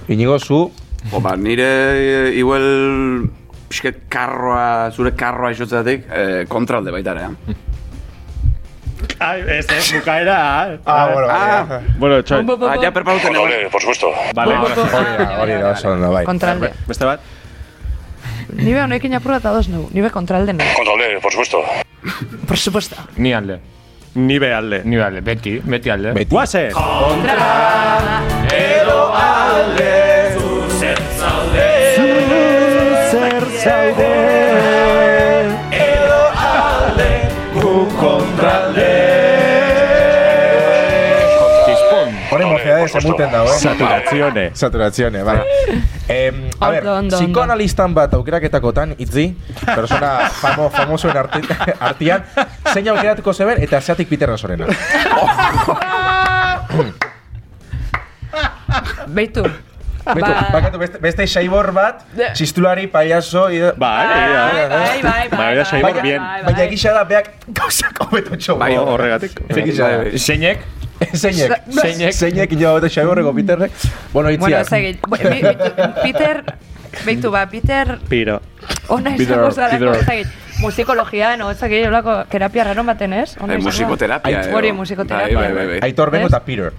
[SPEAKER 2] Inigo zu
[SPEAKER 6] Jo, ba, nire e, igual pixket karroa, zure karroa isotzatik, eh, kontralde baita ere. eh?
[SPEAKER 1] Ai, ez, ez, bukaera.
[SPEAKER 2] Ah, bueno,
[SPEAKER 6] Ah,
[SPEAKER 5] Bueno, txoin.
[SPEAKER 6] ah, ja perpauten egon.
[SPEAKER 5] Vale,
[SPEAKER 2] hori da, hori da, oso ondo, bai.
[SPEAKER 4] Kontralde.
[SPEAKER 5] beste bat.
[SPEAKER 4] Nibe honekin apurra eta dos neu. Nibe kontralde neu. Kontralde, por supuesto. Por supuesto.
[SPEAKER 3] Ni alde.
[SPEAKER 5] Ni be alde.
[SPEAKER 3] Ni alde. Beti, beti alde.
[SPEAKER 2] Beti.
[SPEAKER 5] Guazen! Zer zaude
[SPEAKER 3] Tispon.
[SPEAKER 2] Hore mozedades emuten dago, eh?
[SPEAKER 5] Saturazione.
[SPEAKER 2] Saturazione, bai. Em, a
[SPEAKER 4] Ondo,
[SPEAKER 2] ber,
[SPEAKER 4] ondo, ondo.
[SPEAKER 2] psikoanalistan bat aukeraketakotan, itzi, persona famo, famosoen arti, *laughs* artian, zein aukeratuko zeben eta zeatik Peter Nasorena.
[SPEAKER 4] Beitu.
[SPEAKER 2] Betu,
[SPEAKER 4] Ba-
[SPEAKER 2] bakatu, beste, beste saibor bat,
[SPEAKER 4] De-
[SPEAKER 2] txistulari, paiaso, ida...
[SPEAKER 5] Bai,
[SPEAKER 4] Bai,
[SPEAKER 5] bai,
[SPEAKER 4] bai, bai, bai.
[SPEAKER 5] Baina saibor
[SPEAKER 4] bai,
[SPEAKER 5] bien.
[SPEAKER 4] bai, bai.
[SPEAKER 2] Baina egisa da, beak gauzak hobeto txo.
[SPEAKER 5] bai. Horregatik.
[SPEAKER 2] Egisa
[SPEAKER 6] eh,
[SPEAKER 2] da.
[SPEAKER 3] Zeinek,
[SPEAKER 2] *laughs* Zeinek,
[SPEAKER 3] Zeinek.
[SPEAKER 2] zeinek ino hobeto saiborreko Peterrek. Bueno,
[SPEAKER 4] Bueno,
[SPEAKER 2] itzia.
[SPEAKER 4] ez egin. Bo- bi- bitu- Peter, beitu, ba, Peter,
[SPEAKER 5] Piro.
[SPEAKER 4] ona
[SPEAKER 3] Peter,
[SPEAKER 4] izango zarako,
[SPEAKER 3] Peter.
[SPEAKER 4] ez egin. Musikologia, no, ez egin, holako terapia raro baten, ez? Ona
[SPEAKER 6] Eh,
[SPEAKER 4] izango da.
[SPEAKER 6] musikoterapia.
[SPEAKER 4] Hori,
[SPEAKER 6] edo.
[SPEAKER 4] musikoterapia.
[SPEAKER 6] Bai, bai, bai, bai.
[SPEAKER 2] Aitor bengo
[SPEAKER 4] Ez?
[SPEAKER 2] eta Peter.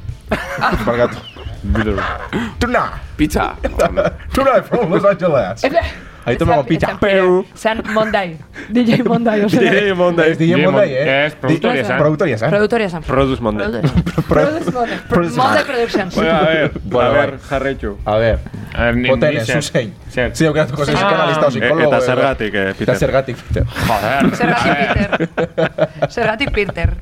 [SPEAKER 2] Barkatu. Tuna!
[SPEAKER 6] Pizza.
[SPEAKER 2] Tuna from Los Angeles! Aitor bengo pita.
[SPEAKER 4] Peru. San Mondai. DJ Mondai, ose.
[SPEAKER 5] Direi monda ez.
[SPEAKER 2] Ez DJ
[SPEAKER 3] DJ
[SPEAKER 2] Mondai,
[SPEAKER 3] Mon-
[SPEAKER 2] eh?
[SPEAKER 3] ez, produktoria
[SPEAKER 2] Di-
[SPEAKER 4] zan.
[SPEAKER 2] Produktoria zan.
[SPEAKER 4] Productoria San.
[SPEAKER 5] Produz monda.
[SPEAKER 4] Produce Mondai. Mondai Productions.
[SPEAKER 5] Bueno, a ver.
[SPEAKER 2] Bueno,
[SPEAKER 5] a
[SPEAKER 2] bai.
[SPEAKER 5] ver, jarraitu.
[SPEAKER 2] A ver,
[SPEAKER 3] Eh, ni-
[SPEAKER 2] boten
[SPEAKER 3] ni
[SPEAKER 2] ez,
[SPEAKER 3] zer.
[SPEAKER 2] zuzein.
[SPEAKER 3] Zer.
[SPEAKER 2] Zio, geratuko zein psikanalista o
[SPEAKER 5] E-
[SPEAKER 2] psikologo.
[SPEAKER 5] Eta
[SPEAKER 2] edo-
[SPEAKER 5] zergatik, eh,
[SPEAKER 2] Eta
[SPEAKER 5] Peter.
[SPEAKER 2] zergatik, Peter.
[SPEAKER 3] joder.
[SPEAKER 4] Zergatik
[SPEAKER 3] Eh, *laughs*
[SPEAKER 4] Peter. Zergatik Peter.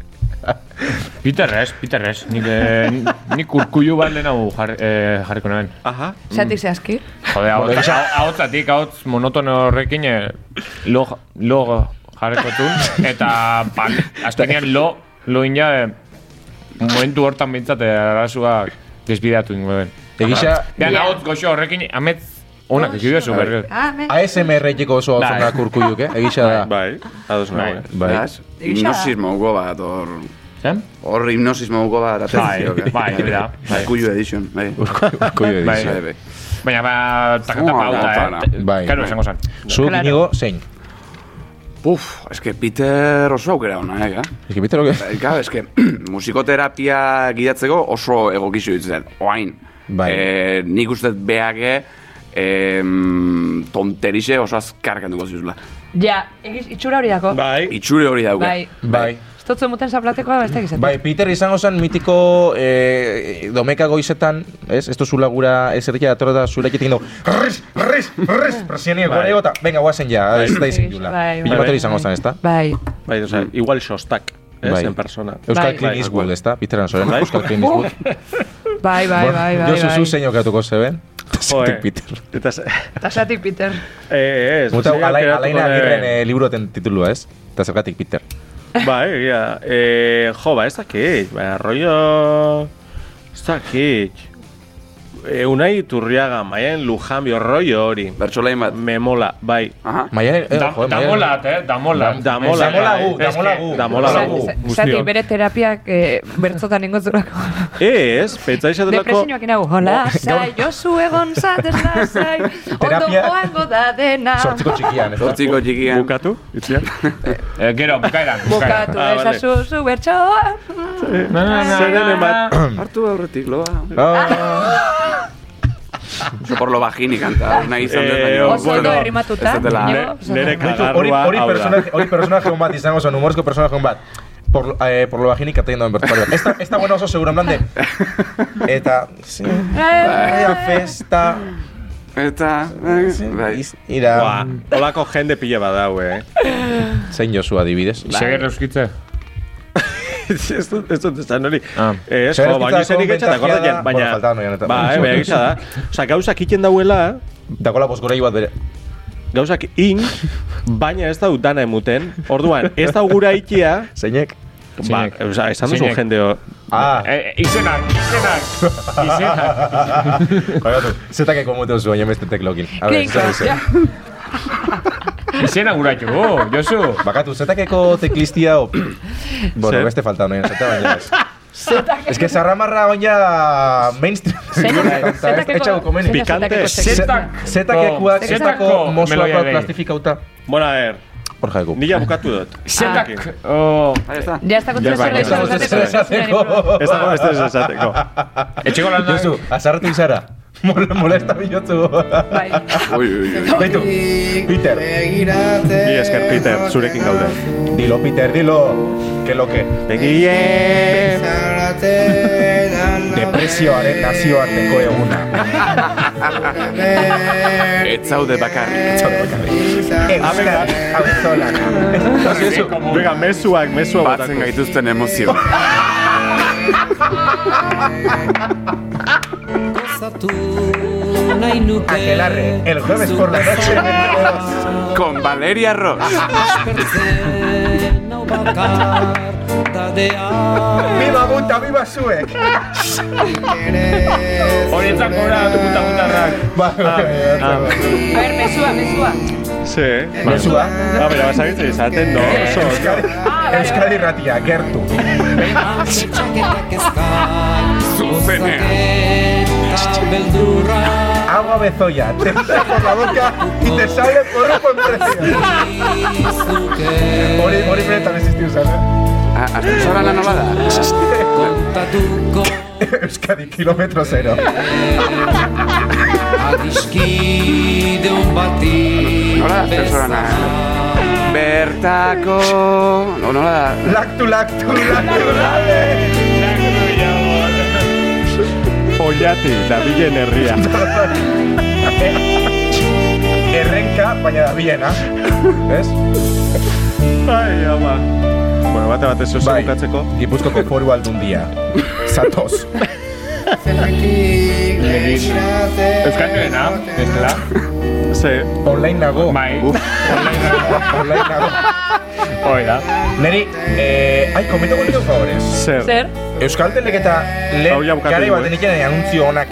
[SPEAKER 3] Peter ez, Peter ez. Nik, eh, nik urkullu bat lehenago jarri, eh, jarriko nuen.
[SPEAKER 5] Aha.
[SPEAKER 4] Zergatik zehazki.
[SPEAKER 3] Jode, ahots- ahotsatik, ahots monotono horrekin eh, lo, lo jarriko du. Eta pan, azkenean lo, lo inja, eh, momentu hortan eh, bintzat arasua desbideatu ingo den.
[SPEAKER 2] Egisa,
[SPEAKER 3] Dean ahots goxo horrekin, amets onak ikidezu berri.
[SPEAKER 4] Ah, me.
[SPEAKER 2] ASMR-jeko oso hau
[SPEAKER 3] Bai.
[SPEAKER 2] zonak urkuiuk, eh? Egisa da.
[SPEAKER 5] Bai, ados nago.
[SPEAKER 3] Bai.
[SPEAKER 5] eh.
[SPEAKER 2] Bai.
[SPEAKER 6] Hipnosismo hugo bat, hor...
[SPEAKER 3] Zen?
[SPEAKER 6] Hor hipnosismo hugo bat, atentzio.
[SPEAKER 3] Bai, bai, bera, bai.
[SPEAKER 6] Kuyu edition,
[SPEAKER 5] *laughs*
[SPEAKER 6] bai.
[SPEAKER 2] Urkuiu
[SPEAKER 3] Bai.
[SPEAKER 2] egisa.
[SPEAKER 6] Bai, bai.
[SPEAKER 3] Baina, ba, takatapa
[SPEAKER 6] Zua,
[SPEAKER 3] hau da, eh.
[SPEAKER 2] Bai.
[SPEAKER 3] Karo, esango zen.
[SPEAKER 2] Zuk
[SPEAKER 4] Claro.
[SPEAKER 2] inigo, zein.
[SPEAKER 6] Puf, eske Peter oso aukera ona, eh, ga?
[SPEAKER 2] Eski Peter, oke?
[SPEAKER 6] Bai, Claro, eske *clears throat* musikoterapia gidatzeko oso egokizu ditzen. Oain.
[SPEAKER 2] Bai.
[SPEAKER 6] Eh, nik uste dut beage em, tonterixe oso azkarken dugu zizula.
[SPEAKER 4] Ja, egiz, itxura hori dako.
[SPEAKER 5] Bai.
[SPEAKER 6] Itxure hori dauka.
[SPEAKER 4] Bai.
[SPEAKER 2] Bai.
[SPEAKER 4] Estotzu muten zaplatekoa beste egizatu.
[SPEAKER 2] Bai, Peter izango zen mitiko eh, domeka goizetan, ez? Ez duzula gura ez errekia atorata zurekitik dago. Riz, riz, riz, presienio gore gota. Venga, guazen ja, ez da izin jula.
[SPEAKER 4] Bai, bai.
[SPEAKER 2] Pilo batera izango zen, ez da?
[SPEAKER 4] Bai.
[SPEAKER 5] Bai, oza, igual sostak. Ez,
[SPEAKER 2] Bai.
[SPEAKER 5] en persona.
[SPEAKER 2] Euskal
[SPEAKER 4] Bai.
[SPEAKER 2] Clint
[SPEAKER 5] Bai,
[SPEAKER 2] Eastwood,
[SPEAKER 5] igual.
[SPEAKER 2] ez da? Peter Ansoren,
[SPEAKER 5] Bai.
[SPEAKER 2] Euskal Clint Eastwood.
[SPEAKER 4] Bai, bai, bai, bai.
[SPEAKER 2] Josu zu
[SPEAKER 4] bai.
[SPEAKER 2] zein aukatuko zeben. *laughs* Zetik Peter.
[SPEAKER 5] Eta *laughs* ze...
[SPEAKER 4] Tasatik Peter.
[SPEAKER 5] Eh, ez.
[SPEAKER 2] Muta,
[SPEAKER 5] ze aukeratuko
[SPEAKER 2] alaina
[SPEAKER 5] den.
[SPEAKER 2] agirren eh, liburuaten titulua, ez? Eta zergatik Peter.
[SPEAKER 5] Bai, egia. Eh, jo, ba, ez dakit. Ba, rollo... Ez dakit. Eh, unai iturriaga, maien lujanbio, rollo hori.
[SPEAKER 6] Bertxolain bat.
[SPEAKER 5] Me mola, bai.
[SPEAKER 6] Aha.
[SPEAKER 2] Maialen, eh,
[SPEAKER 3] Da,
[SPEAKER 2] joder,
[SPEAKER 3] da
[SPEAKER 2] Maialen-
[SPEAKER 3] molat, eh, da molat.
[SPEAKER 5] Da mola.
[SPEAKER 2] Damola
[SPEAKER 5] bai.
[SPEAKER 2] gu, damola gu.
[SPEAKER 5] Damola
[SPEAKER 2] Damola
[SPEAKER 5] gu.
[SPEAKER 2] gu.
[SPEAKER 4] Zati
[SPEAKER 3] guztiok.
[SPEAKER 4] bere terapiak eh, bertzotan ingotzulako.
[SPEAKER 5] Ez, pentsa izatelako...
[SPEAKER 4] Depresioak inago. Hola, zai, Josu egon zatez da, zai. Ondo
[SPEAKER 2] Terapia-
[SPEAKER 4] joango da dena.
[SPEAKER 2] Zortziko txikian, eh. ez da?
[SPEAKER 6] Hortziko txikian.
[SPEAKER 5] Bukatu, itziar.
[SPEAKER 2] Ah.
[SPEAKER 3] Eh, gero, bukaeran, bukaeran.
[SPEAKER 4] Bokatu
[SPEAKER 5] Ah, vale.
[SPEAKER 4] ezazu zu bertsoa.
[SPEAKER 3] Na, na, na,
[SPEAKER 5] Zeren
[SPEAKER 3] na,
[SPEAKER 5] emat...
[SPEAKER 3] na.
[SPEAKER 6] Hartu aurretik loa.
[SPEAKER 2] Ah,
[SPEAKER 6] Oso por lo bajini kanta. Nahi izan dut,
[SPEAKER 5] Eh,
[SPEAKER 6] baina
[SPEAKER 5] Oso
[SPEAKER 4] Oso
[SPEAKER 6] ez
[SPEAKER 4] ondo
[SPEAKER 5] bueno,
[SPEAKER 6] dela-
[SPEAKER 4] errimatuta.
[SPEAKER 6] Ez dela,
[SPEAKER 4] Iñigo, oso ondo.
[SPEAKER 5] Nere
[SPEAKER 2] Hori,
[SPEAKER 5] kagarrua,
[SPEAKER 2] hori
[SPEAKER 5] Ah, hau da.
[SPEAKER 2] personaje, hori personaje un bat izango zen, humorzko personaje un bat. Por, eh, por lo bajini que atendiendo en Bertolio. Esta, esta buena oso seguro, en plan de... Eta... Sí. Vaya festa...
[SPEAKER 6] Eta... Bai.
[SPEAKER 2] iz- Ira...
[SPEAKER 5] Ba, Olako jende pile badau, eh? *laughs*
[SPEAKER 2] Zein Josu adibidez.
[SPEAKER 3] Seger euskitze.
[SPEAKER 5] ez dut, ez dut esan hori.
[SPEAKER 3] Ah.
[SPEAKER 5] Ez,
[SPEAKER 2] Zer
[SPEAKER 5] jo, baina
[SPEAKER 2] ezkitzako
[SPEAKER 5] izenik etxat,
[SPEAKER 2] bentakia
[SPEAKER 5] akordatzen,
[SPEAKER 2] da-
[SPEAKER 5] baina...
[SPEAKER 2] Bueno, falta no, ja,
[SPEAKER 5] Ba, eh, baina egitza da. Osa, gauzak iten dauela,
[SPEAKER 2] Dakola bosgorei bat bere.
[SPEAKER 5] gauzak in, baina ez da dana emuten. Orduan, ez da gura ikia,
[SPEAKER 2] Zeinek.
[SPEAKER 5] ba,
[SPEAKER 3] Zeinek.
[SPEAKER 5] oza, esan duzu
[SPEAKER 3] Zeinek.
[SPEAKER 5] jende hor.
[SPEAKER 2] Ah, *laughs*
[SPEAKER 3] Eh, izenak, izenak, izenak.
[SPEAKER 2] bagatu. Zetak eko muteu zu, baina beste teklokin. A ver,
[SPEAKER 4] Klinko,
[SPEAKER 2] zer
[SPEAKER 4] ja.
[SPEAKER 2] dizen.
[SPEAKER 3] Izena guratu, Oh, Josu.
[SPEAKER 2] Bakatu, zetakeko teklistia o... Bueno,
[SPEAKER 5] Zer?
[SPEAKER 2] beste falta no, zeta baina ez. Ez que zarramarra baina mainstream. *laughs*
[SPEAKER 4] Zetak
[SPEAKER 2] Etxau komeni.
[SPEAKER 5] Pikante.
[SPEAKER 2] Zetak
[SPEAKER 3] Zetak.
[SPEAKER 2] zetako
[SPEAKER 3] Zetako
[SPEAKER 2] mozoak
[SPEAKER 3] melodia gehi.
[SPEAKER 2] plastifikauta.
[SPEAKER 5] Bueno, a ver,
[SPEAKER 2] hor jaiko.
[SPEAKER 5] Nila bukatu dut.
[SPEAKER 3] Zetak. Oh,
[SPEAKER 4] Ja, ez dago
[SPEAKER 5] bai,
[SPEAKER 4] tres
[SPEAKER 5] ez dago
[SPEAKER 4] horrek
[SPEAKER 2] tres esateko.
[SPEAKER 5] Ez dago ez ez esateko.
[SPEAKER 3] Etxeko lan
[SPEAKER 2] Josu, azarretu izara. *laughs* Mol- Molesta bilotzu.
[SPEAKER 4] Bai.
[SPEAKER 6] Ui, ui, ui.
[SPEAKER 2] Baitu, Peter.
[SPEAKER 5] Bi esker, Peter, zurekin gaude.
[SPEAKER 2] Dilo, Peter, dilo. Que lo que.
[SPEAKER 5] Begile!
[SPEAKER 2] Depresioaren nazioarteko eguna.
[SPEAKER 6] Ez zaude bakarrik.
[SPEAKER 2] Euskadi, abezolan. Josu,
[SPEAKER 5] Bega, mesuak, mesuak botako.
[SPEAKER 6] Batzen gaituzten emozio.
[SPEAKER 2] Aquelarre, el jueves por la noche.
[SPEAKER 6] Con Valeria Ross.
[SPEAKER 2] Viva Gunta, viva Suek.
[SPEAKER 3] Horietzak gora duguta gutarrak.
[SPEAKER 2] Ba,
[SPEAKER 4] A ber, mesua, mesua.
[SPEAKER 5] Ze.
[SPEAKER 2] Mezua.
[SPEAKER 5] Ah, bera, basagitze izaten, no? Oso, oso.
[SPEAKER 2] Euskadi, Euskadi ratia, gertu.
[SPEAKER 6] Zuzenean.
[SPEAKER 2] Agua bezoya, te entra por la boca y te sale por un buen precio. Hori, hori benetan existitu zara.
[SPEAKER 6] Ah, Ascensora lan nola da?
[SPEAKER 2] Euskadi, kilometro zero.
[SPEAKER 6] Nola da ascensora na? Bertako... No, nola da?
[SPEAKER 2] Lactu, lactu, lactu, lactu.
[SPEAKER 5] Oiati, dabilen herria.
[SPEAKER 2] Errenka, baina da
[SPEAKER 5] *laughs*
[SPEAKER 2] biena. ¿Ves?
[SPEAKER 5] Ai, ama. Bueno, bate bat ez oso
[SPEAKER 2] Bai.
[SPEAKER 5] bukatzeko.
[SPEAKER 2] Gipuzkoko foru
[SPEAKER 5] *laughs*
[SPEAKER 2] aldundia. Zatoz.
[SPEAKER 3] Euskalduena, bestela.
[SPEAKER 5] Ze,
[SPEAKER 2] Online nago.
[SPEAKER 3] Bai.
[SPEAKER 2] Online nago.
[SPEAKER 3] Hoi da.
[SPEAKER 2] Neri, eh, ai, komento contigo favores.
[SPEAKER 5] zer.
[SPEAKER 4] Zer?
[SPEAKER 2] Euskal Teleketa lehen
[SPEAKER 5] Hau ja bukatu
[SPEAKER 2] gari
[SPEAKER 5] dugu,
[SPEAKER 2] baten
[SPEAKER 5] eh?
[SPEAKER 2] ikenen anuntzio honak.